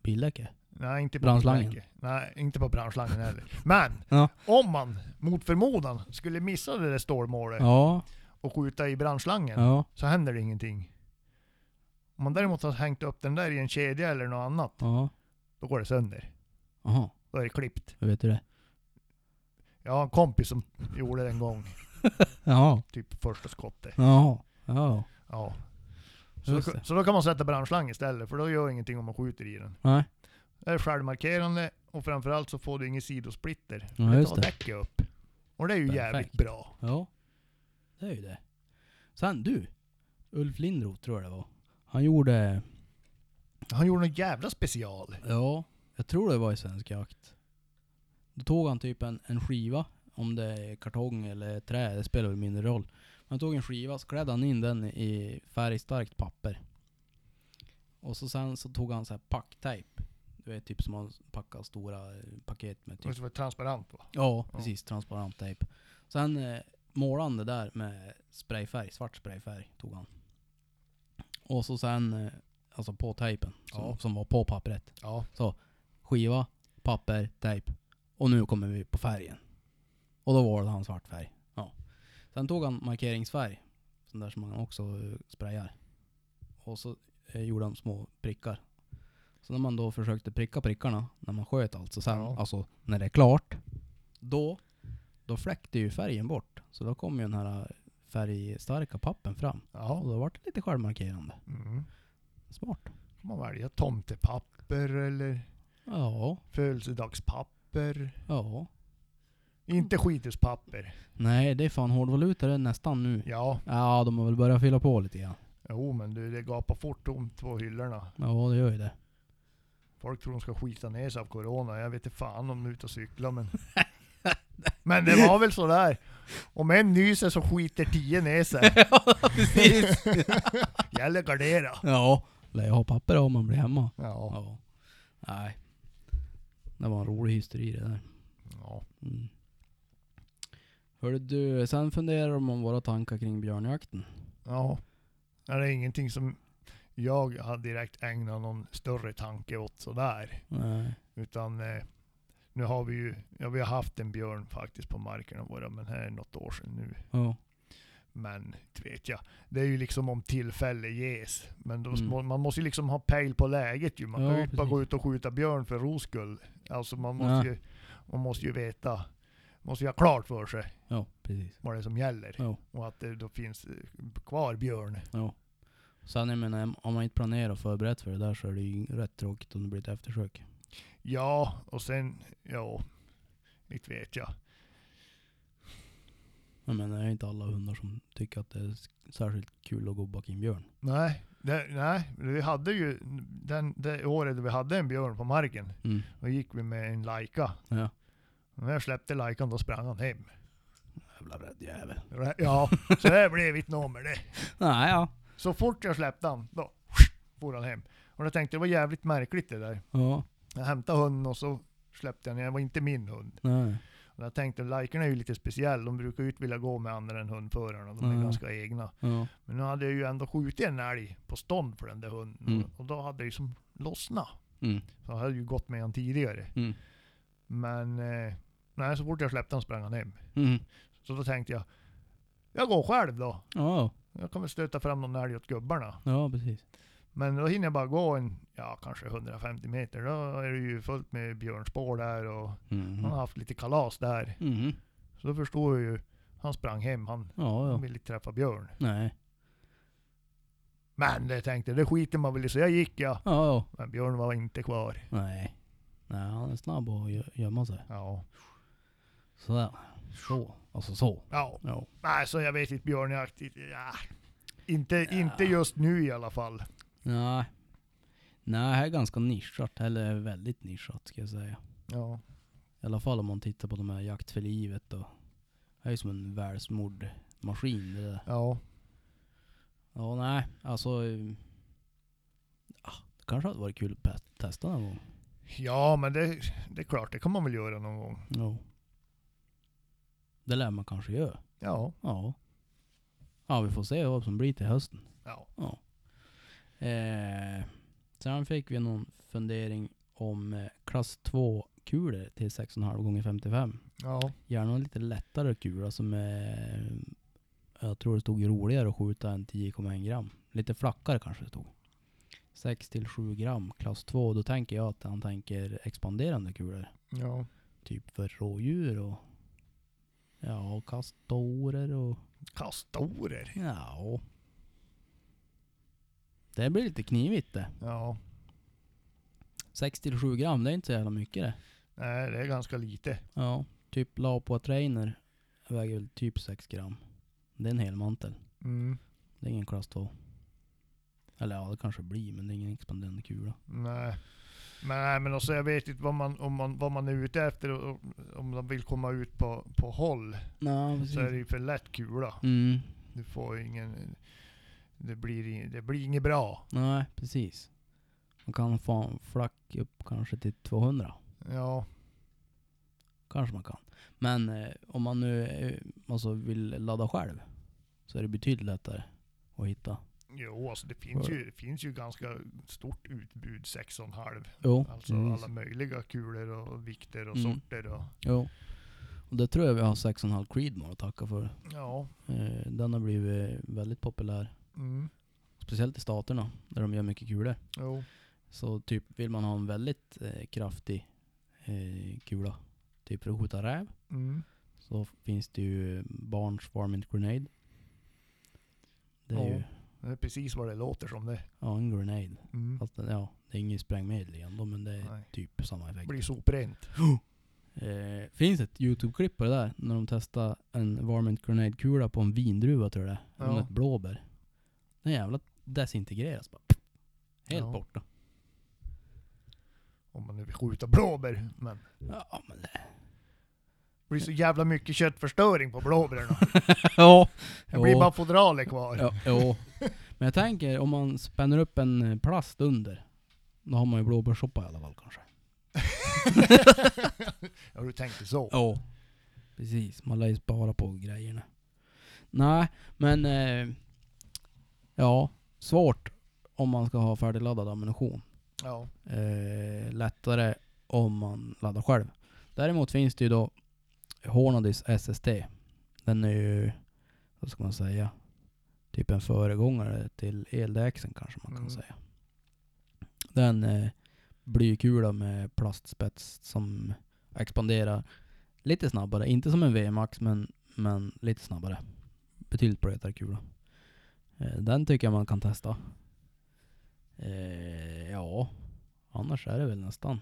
Speaker 1: Bildäcke.
Speaker 2: Nej, inte på
Speaker 1: Brandslangen.
Speaker 2: bildäcket. Nej, inte på brandslangen heller. Men,
Speaker 1: Ja.
Speaker 2: om man mot förmodan skulle missa det där stålmålet
Speaker 1: Ja.
Speaker 2: och skjuta i brandslangen,
Speaker 1: Ja.
Speaker 2: så händer det ingenting. Om man däremot har hängt upp den där i en kedja eller något annat,
Speaker 1: Ja.
Speaker 2: då går det sönder.
Speaker 1: Jaha.
Speaker 2: Då är det klippt.
Speaker 1: Hur vet du det?
Speaker 2: Jag har en kompis som gjorde det en gång,
Speaker 1: Jaha.
Speaker 2: typ första skottet.
Speaker 1: Jaha. Ja.
Speaker 2: Ja. Så,
Speaker 1: Just det.
Speaker 2: så då kan man sätta brandslang istället, för då gör ingenting om man skjuter i den.
Speaker 1: Nej.
Speaker 2: Det är självmarkerande, och framförallt så får du ingen sidosplitter.
Speaker 1: Ja,
Speaker 2: det
Speaker 1: just
Speaker 2: tar
Speaker 1: det.
Speaker 2: däcket upp. Och det är ju jävligt
Speaker 1: Perfekt.
Speaker 2: bra.
Speaker 1: Ja, det är ju det. Sen du, Ulf Lindroth tror jag det var. Han gjorde,
Speaker 2: Han gjorde en jävla special.
Speaker 1: ja, jag tror det var i Svensk Jakt. Då tog han typ en, en skiva, om det är kartong eller trä, det spelar väl mindre roll. Han tog en skiva, så klädde han in den i färgstarkt papper. Och så sen så tog han så här packtejp. Du vet typ som man packar stora eh, paket med typ
Speaker 2: Och så var det transparent va?
Speaker 1: Ja,
Speaker 2: Ja.
Speaker 1: precis. Transparent tejp. Sen eh, målade han det där med sprayfärg, svart sprayfärg tog han. Och så sen, eh, alltså på tejpen, som,
Speaker 2: Ja.
Speaker 1: som var på pappret.
Speaker 2: Ja.
Speaker 1: Skiva, papper, tejp. Och nu kommer vi på färgen. Och då valde han svart färg. Ja. Sen tog han markeringsfärg, sån där som man också eh, sprayar. Och så eh, gjorde han små prickar. Så när man då försökte pricka prickarna, när man sköt alltså sen,
Speaker 2: Ja.
Speaker 1: alltså när det är klart. Då, då fläckte ju färgen bort. Så då kom ju den här eh, färgstarka pappen fram. Och
Speaker 2: Ja.
Speaker 1: då vart det lite självmarkerande.
Speaker 2: Mm.
Speaker 1: Smart.
Speaker 2: Får man välja tomtepapper eller
Speaker 1: Ja,
Speaker 2: födelsedagspapper.
Speaker 1: ja.
Speaker 2: Inte
Speaker 1: Mm.
Speaker 2: skithuspapper.
Speaker 1: Nej, det är fan hårdvaluta det är nästan nu.
Speaker 2: Ja,
Speaker 1: Ja, de har väl börjat fylla på lite grann.
Speaker 2: jo men du det gapar fort tomt på hyllorna.
Speaker 1: Ja, det gör ju det.
Speaker 2: Folk tror de ska skita ner sig av corona. Jag vet inte fan om de är ute och cyklar men... men det var väl sådär. Om en nyser så skiter tio ner sig.
Speaker 1: ja, precis.
Speaker 2: Gäller gardera.
Speaker 1: ja, lär jag ha papper om man blir hemma.
Speaker 2: Ja.
Speaker 1: Ja. Nej. Det var en rolig hysteri det där.
Speaker 2: ja.
Speaker 1: Mm. Hörde du, sen funderar de om våra tankar kring björnjakten.
Speaker 2: Ja. Nej, Det är ingenting som jag har direkt ägnat någon större tanke åt sådär.
Speaker 1: Nej.
Speaker 2: Utan eh, nu har vi ju, ja vi har haft en björn faktiskt på markerna våra, men här är något år sedan nu.
Speaker 1: Ja.
Speaker 2: Men inte vet jag. Det är ju liksom om tillfälle ges. Men då,
Speaker 1: Mm.
Speaker 2: må- man måste ju liksom ha pejl på läget ju. Man
Speaker 1: Ja,
Speaker 2: kan ju inte bara
Speaker 1: precis.
Speaker 2: gå ut och skjuta björn för ros skull. Alltså man måste, ju, man måste ju veta, måste ju ha klart för sig
Speaker 1: Ja, precis.
Speaker 2: vad det är som gäller.
Speaker 1: Ja.
Speaker 2: Och att det då finns eh, kvar björn.
Speaker 1: Ja. Sen jag menar, om man inte planerar och förberett för det där så är det ju rätt tråkigt om det blir ett eftersök.
Speaker 2: Ja, och sen, ja, inte vet jag.
Speaker 1: Jag menar, det är inte alla hundar som tycker att det är s- särskilt kul att gå bak i en björn.
Speaker 2: Nej, det, nej, vi hade ju den, det året vi hade en björn på marken.
Speaker 1: Mm.
Speaker 2: Då gick vi med en Laika.
Speaker 1: Ja.
Speaker 2: Och när jag släppte Laikan då sprang han hem.
Speaker 1: Jävla rädd jävel.
Speaker 2: Ja, så det blev ett nummer det.
Speaker 1: Nej, ja.
Speaker 2: Så fort jag släppte han, då for han hem. Och jag tänkte det var jävligt märkligt det där.
Speaker 1: Ja,
Speaker 2: Jag hämtade hunden och så släppte jag den. Det var inte min hund.
Speaker 1: nej.
Speaker 2: Och jag tänkte Laikorna är ju lite speciell. De brukar ju inte vilja gå med andra än hundförarna. De är
Speaker 1: Mm.
Speaker 2: ganska egna.
Speaker 1: Ja.
Speaker 2: Men nu hade jag ju ändå skjutit en älg på stånd för den där hunden.
Speaker 1: Mm.
Speaker 2: Och då hade det ju som lossnat.
Speaker 1: Mm.
Speaker 2: Så jag hade ju gått med han tidigare.
Speaker 1: Mm.
Speaker 2: Men eh, Nej, så fort jag släppte han sprang han hem.
Speaker 1: Mm.
Speaker 2: Så då tänkte jag, jag går själv då.
Speaker 1: Ja,
Speaker 2: Jag kommer stöta fram någon älg åt gubbarna.
Speaker 1: ja precis.
Speaker 2: Men då hinner jag bara gå en, ja kanske 150 meter. Då är det ju fullt med björnspår där och
Speaker 1: Mhm.
Speaker 2: han har haft lite kalas där.
Speaker 1: Mhm.
Speaker 2: Så då förstår jag ju, han sprang hem, han,
Speaker 1: Ja,
Speaker 2: han
Speaker 1: ja.
Speaker 2: ville inte träffa björn.
Speaker 1: Nej.
Speaker 2: Men det tänkte jag, det skiter man väl i. Så jag gick ja.
Speaker 1: Ja, ja.
Speaker 2: Men björn var inte kvar.
Speaker 1: Nej. Nej, han är snabb att gö- gömma sig.
Speaker 2: Ja.
Speaker 1: Sådär. Så. Alltså så.
Speaker 2: Ja.
Speaker 1: Ja.
Speaker 2: Nej, så jag vet inte björnjakt. Ja. Inte, inte just nu i alla fall.
Speaker 1: Nej. Nej, det här är ganska nischat. Eller väldigt nischat ska jag säga.
Speaker 2: Ja.
Speaker 1: I alla fall om man tittar på de här Jakt för livet och Det är ju som en välsmord maskin det där.
Speaker 2: Ja.
Speaker 1: Ja, nej. Alltså... eh, ah, Det kanske hade varit kul att pe- testa någon gång.
Speaker 2: Ja, men det, det är klart, det kan man väl göra någon gång.
Speaker 1: Ja. Det lär man kanske göra.
Speaker 2: Ja.
Speaker 1: Ja. Ja, vi får se vad som blir till hösten.
Speaker 2: Ja.
Speaker 1: Eh, sen fick vi någon fundering om eh, klass 2-kulor till 6,5 gånger 55.
Speaker 2: Ja.
Speaker 1: Gärna en lite lättare kula som är... Jag tror det stod roligare att skjuta än 10,1 gram. Lite flackare kanske det stod. 6 till 7 gram klass 2. Då tänker jag att han tänker expanderande kulor.
Speaker 2: Ja.
Speaker 1: Typ för rådjur och... Ja, och kastorer och...
Speaker 2: Kastorer.
Speaker 1: Ja. och- Det blir lite knivigt det.
Speaker 2: Ja.
Speaker 1: 6 till 7 gram, det är inte så jävla mycket det.
Speaker 2: Nej, det är ganska lite.
Speaker 1: Ja, typ Lapua Trainer väger väl typ 6 gram. Det är en hel mantel.
Speaker 2: Mm.
Speaker 1: Det är ingen klass 2. Eller ja, det kanske blir, men det är ingen expanderande kula.
Speaker 2: Nej. Men, nej, men också, jag vet inte vad man, om man, vad man är ute efter. och- och Om man vill komma ut på, på håll
Speaker 1: Ja,
Speaker 2: så är det ju för lätt kula.
Speaker 1: Mm,
Speaker 2: Du får ingen... Det blir, ing- det blir inget bra.
Speaker 1: nej precis. Man kan få flack upp kanske till 200.
Speaker 2: Ja.
Speaker 1: Kanske man kan. Men eh, om man nu eh, alltså vill ladda själv så är det betydligt lättare att hitta.
Speaker 2: Jo, alltså det finns ju, det finns ju ganska stort utbud 6,5.
Speaker 1: Jo, Mm.
Speaker 2: Alltså
Speaker 1: precis.
Speaker 2: alla möjliga kulor och vikter och
Speaker 1: Mm.
Speaker 2: sorter. Och,
Speaker 1: Jo. Och det tror jag vi har 6,5 Creedmoor att tacka för.
Speaker 2: ja.
Speaker 1: Eh, Den har blivit väldigt populär.
Speaker 2: Mm.
Speaker 1: Speciellt i staterna där de gör mycket kulor.
Speaker 2: Jo.
Speaker 1: Så typ vill man ha en väldigt eh, kraftig eh, kula, typ för att skjuta räv,
Speaker 2: Mm.
Speaker 1: så finns det ju Barnes Varmint Grenade. Det är
Speaker 2: Ja.
Speaker 1: ju
Speaker 2: Det är precis vad det låter som det.
Speaker 1: ja, en grenade.
Speaker 2: Mm.
Speaker 1: Fast den, ja, det är inget sprängmedel igen då, men Alltså, det är
Speaker 2: Nej.
Speaker 1: typ samma
Speaker 2: Det
Speaker 1: effekt.
Speaker 2: blir soprent.
Speaker 1: Eh, finns ett Youtube-klipp på det där, när de testar en Varmint Grenade-kula på en vindruva tror jag det är.
Speaker 2: Ja.
Speaker 1: Eller ett blåbär. Den jävla desintegreras bara. Helt
Speaker 2: Ja.
Speaker 1: borta.
Speaker 2: Om man nu vill skjuta blåbär. Men det
Speaker 1: Ja, men det...
Speaker 2: blir så jävla mycket köttförstöring på blåbären.
Speaker 1: ja.
Speaker 2: Det blir
Speaker 1: Jo.
Speaker 2: bara fodralet kvar.
Speaker 1: Ja, jo. Men jag tänker om man spänner upp en eh, plast under. Då har man ju blåbärssoppa i alla fall kanske.
Speaker 2: ja, du tänkte så.
Speaker 1: Ja. Precis, man lär ju spara på grejerna. Nej, men... Eh, ja, svårt om man ska ha färdigladdad ammunition.
Speaker 2: Ja.
Speaker 1: Eh, lättare om man laddar själv. Däremot finns det ju då Hornadys SST. Den är ju, vad ska man säga, typ en föregångare till eldäxen kanske man kan
Speaker 2: Mm.
Speaker 1: säga. Den eh, blykula med plastspets som expanderar lite snabbare. Inte som en VMAX men, men lite snabbare. Betydligt blötare kula. Eh, den tycker jag man kan testa. Eh, ja, annars är det väl nästan.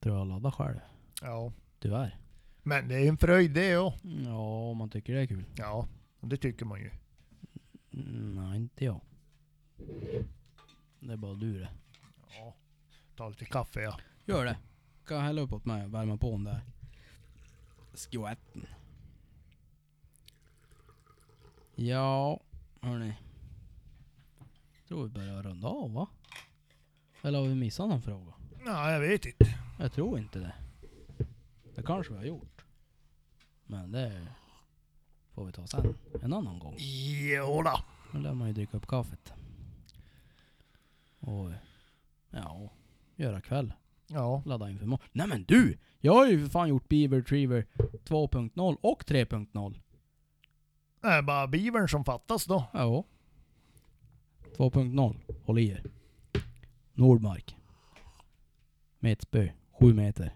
Speaker 1: Tror jag ladda själv.
Speaker 2: ja.
Speaker 1: Tyvärr.
Speaker 2: Men det är en fröjd det ja.
Speaker 1: Ja, om man tycker det är kul.
Speaker 2: Ja, det tycker man ju.
Speaker 1: Mm, nej, inte jag. Det är bara du det.
Speaker 2: Ja. Ta lite kaffe ja.
Speaker 1: Gör det. Kan jag hälla upp åt mig och värma på den där skvätten. Ja, hörni. Tror vi börjar runda av va? Eller har vi missat någon fråga?
Speaker 2: Nej, jag vet inte.
Speaker 1: Jag tror inte det. Det kanske vi har gjort. Men det får vi ta sen. En annan gång.
Speaker 2: Jodå.
Speaker 1: Nu lär man ju dricka upp kaffet. Och ja, göra kväll.
Speaker 2: Ja.
Speaker 1: Ladda inför imorgon. Nej men du! Jag har ju för fan gjort Beaver Retriever 2.0 och 3.0.
Speaker 2: Det är bara bivern som fattas då.
Speaker 1: Ja. 2.0. Håll i er. Nordmark. Med ett spö. Sju meter.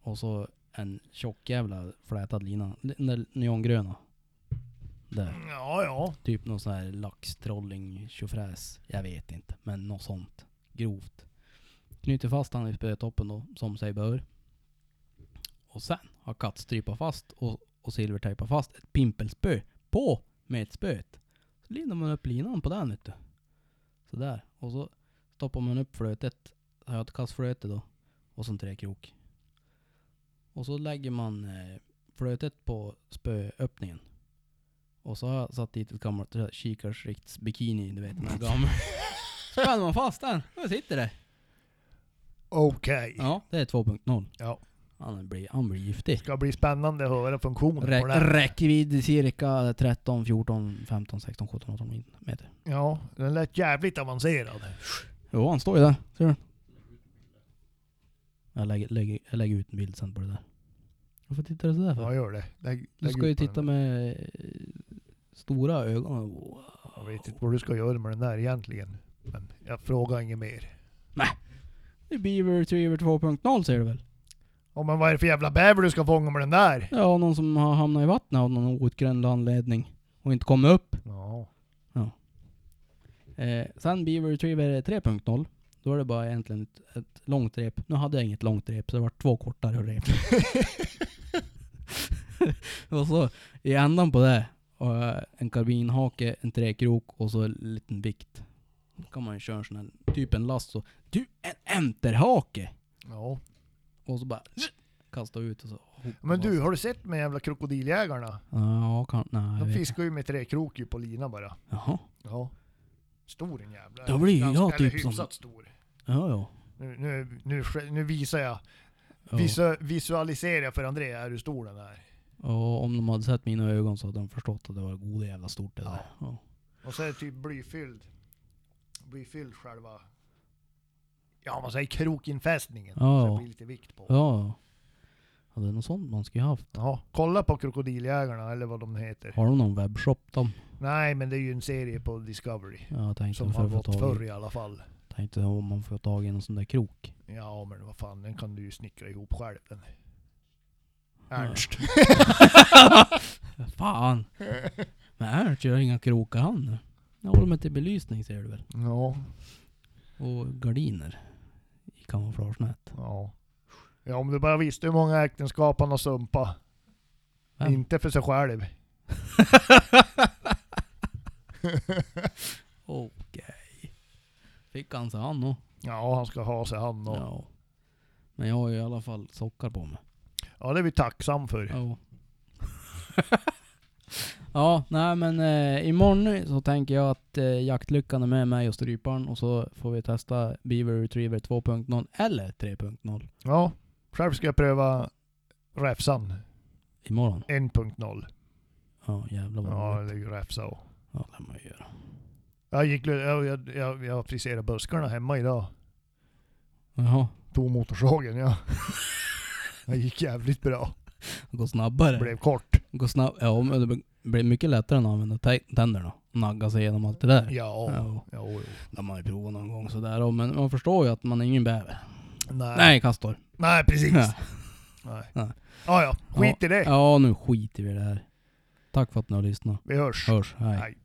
Speaker 1: Och så en tjock jävla flätad lina. Den där neongröna. Där.
Speaker 2: Ja, ja.
Speaker 1: Typ någon sån här laxtrolling tjofräs. Jag vet inte. Men något sånt. Grovt. Knyter fast han i spötoppen då, som sig bör. Och sen har Katt strypat fast och, och silvertejpat fast ett pimpelspö på med ett spöet. Så lindar man upp linan på den vet du. Sådär. Och så stoppar man upp flötet. Har jag ett kastflöte då. Och så en träkrok. Och så lägger man eh, flötet på spööppningen. Och så har jag satt dit ett gammalt sådär kikarsrikts bikini, du vet den här gamla. Spänner man fast den, då sitter det.
Speaker 2: Okej.
Speaker 1: Ja, det är 2.0.
Speaker 2: Ja.
Speaker 1: Han blir, han blir giftig.
Speaker 2: Ska bli spännande att höra funktionen
Speaker 1: Rä
Speaker 2: på den.
Speaker 1: räckvidd cirka 13, 14, 15, 16, 17, 18 meter.
Speaker 2: Ja, den lät jävligt avancerad.
Speaker 1: Jo, han står ju där. Ser du? Jag lägger, lägger, jag lägger ut en bild sen på det där. Varför tittar du sådär
Speaker 2: Ja,
Speaker 1: för?
Speaker 2: gör det. Lägg,
Speaker 1: Du
Speaker 2: lägg
Speaker 1: ska ju
Speaker 2: ut på
Speaker 1: titta
Speaker 2: den.
Speaker 1: med eh, stora ögon. Wow.
Speaker 2: Jag vet inte vad du ska göra med den där egentligen. Men jag frågar inget mer.
Speaker 1: Det är Beaver Retriever 2.0 säger du väl?
Speaker 2: Ja, men vad är det för jävla bäver du ska fånga med den där?
Speaker 1: Ja, någon som har hamnat i vattnet av någon outgrundlig anledning och inte kommit upp.
Speaker 2: Ja.
Speaker 1: Eh, sen Beaver Retriever 3.0. Då är det bara egentligen ett, ett långt rep. Nu hade jag inget långt rep, så det var två kortare rep. och så i ändan på det, har jag en karbinhake, en träkrok och så en liten vikt. Då kan man ju köra en sån här, typ en last så. Du, en enterhake!
Speaker 2: Ja.
Speaker 1: Och så bara kasta ut och så.
Speaker 2: Men du, har du sett de jävla krokodiljägarna?
Speaker 1: Ja, kan, nej. jag
Speaker 2: De
Speaker 1: vet inte.
Speaker 2: fiskar ju med träkrok ju på lina bara.
Speaker 1: Jaha.
Speaker 2: Ja. Stor en jävla.
Speaker 1: Då blir jag
Speaker 2: Ganska- eller
Speaker 1: typ som-
Speaker 2: hyfsat stor.
Speaker 1: Ja, ja.
Speaker 2: Nu, nu, nu, sk- nu visar jag.
Speaker 1: Ja.
Speaker 2: Visu, visualiserar jag för André hur stor den är.
Speaker 1: Ja, om de hade sett mina ögon så hade de förstått att det var goda jävla stort det där. Ja.
Speaker 2: Och så är det typ blyfylld. Blyfylld själva... Ja, man säger krokinfästningen.
Speaker 1: Ja,
Speaker 2: Så
Speaker 1: ja.
Speaker 2: det blir lite vikt på.
Speaker 1: Ja. ja. Det är något sånt man skulle ha haft.
Speaker 2: Ja, kolla på Krokodiljägarna eller vad de heter.
Speaker 1: Har de någon webbshop de?
Speaker 2: Nej, men det är ju en serie på Discovery.
Speaker 1: Ja, jag tänkte
Speaker 2: Som
Speaker 1: för
Speaker 2: har
Speaker 1: att få
Speaker 2: gått
Speaker 1: tag
Speaker 2: förr
Speaker 1: i.
Speaker 2: i alla fall.
Speaker 1: Tänkte om man får tag i en sån där krok.
Speaker 2: Ja, men vad fan, den kan du ju snickra ihop själv. Den. Ernst.
Speaker 1: Fan! Men här kör inga krokar han. Jag håller mig till belysning ser du väl?
Speaker 2: Ja,
Speaker 1: Och gardiner. I kamouflagenät.
Speaker 2: ja. Ja, om du bara visste hur många äktenskap han har sumpat.
Speaker 1: Vem?
Speaker 2: Inte för sig själv.
Speaker 1: Okej. Fick han sig han då?
Speaker 2: Ja, han ska ha sig han och... Ja.
Speaker 1: Ja. Men jag har ju i alla fall sockar på mig.
Speaker 2: det är vi tacksam för.
Speaker 1: Ja. ja, nej men eh, imorgon så tänker jag att eh, jaktlyckan är med mig och stryparen och så får vi testa Beaver Retriever 2.0 eller 3.0
Speaker 2: Ja, själv ska jag pröva Räfsan
Speaker 1: imorgon.
Speaker 2: 1.0.
Speaker 1: Ja jävlar vad
Speaker 2: Ja,
Speaker 1: roligt.
Speaker 2: det är ju Räfsa och...
Speaker 1: Ja, det lär man ju göra.
Speaker 2: Jag, gick, jag, jag, jag, jag friserade buskarna hemma idag.
Speaker 1: Jaha,
Speaker 2: Tog motorsågen, ja. Det gick jävligt bra.
Speaker 1: det går snabbare.
Speaker 2: Blev kort.
Speaker 1: Går snabb ja, men det blir mycket lättare än att använda tä- tänderna. Nagga sig igenom allt det där.
Speaker 2: Ja. ja.
Speaker 1: Ja,
Speaker 2: Jo, jo.
Speaker 1: det har man ju provat någon gång sådär och men man förstår ju att man är ingen bäver.
Speaker 2: Nej. Nej.
Speaker 1: Nej, Castor.
Speaker 2: precis.
Speaker 1: Ja.
Speaker 2: Nej.
Speaker 1: Nej.
Speaker 2: Ja, ja. Skit i det.
Speaker 1: ja, nu skiter vi i det här. Tack för att ni har lyssnat.
Speaker 2: Vi hörs.
Speaker 1: Hörs, hej.
Speaker 2: Hej.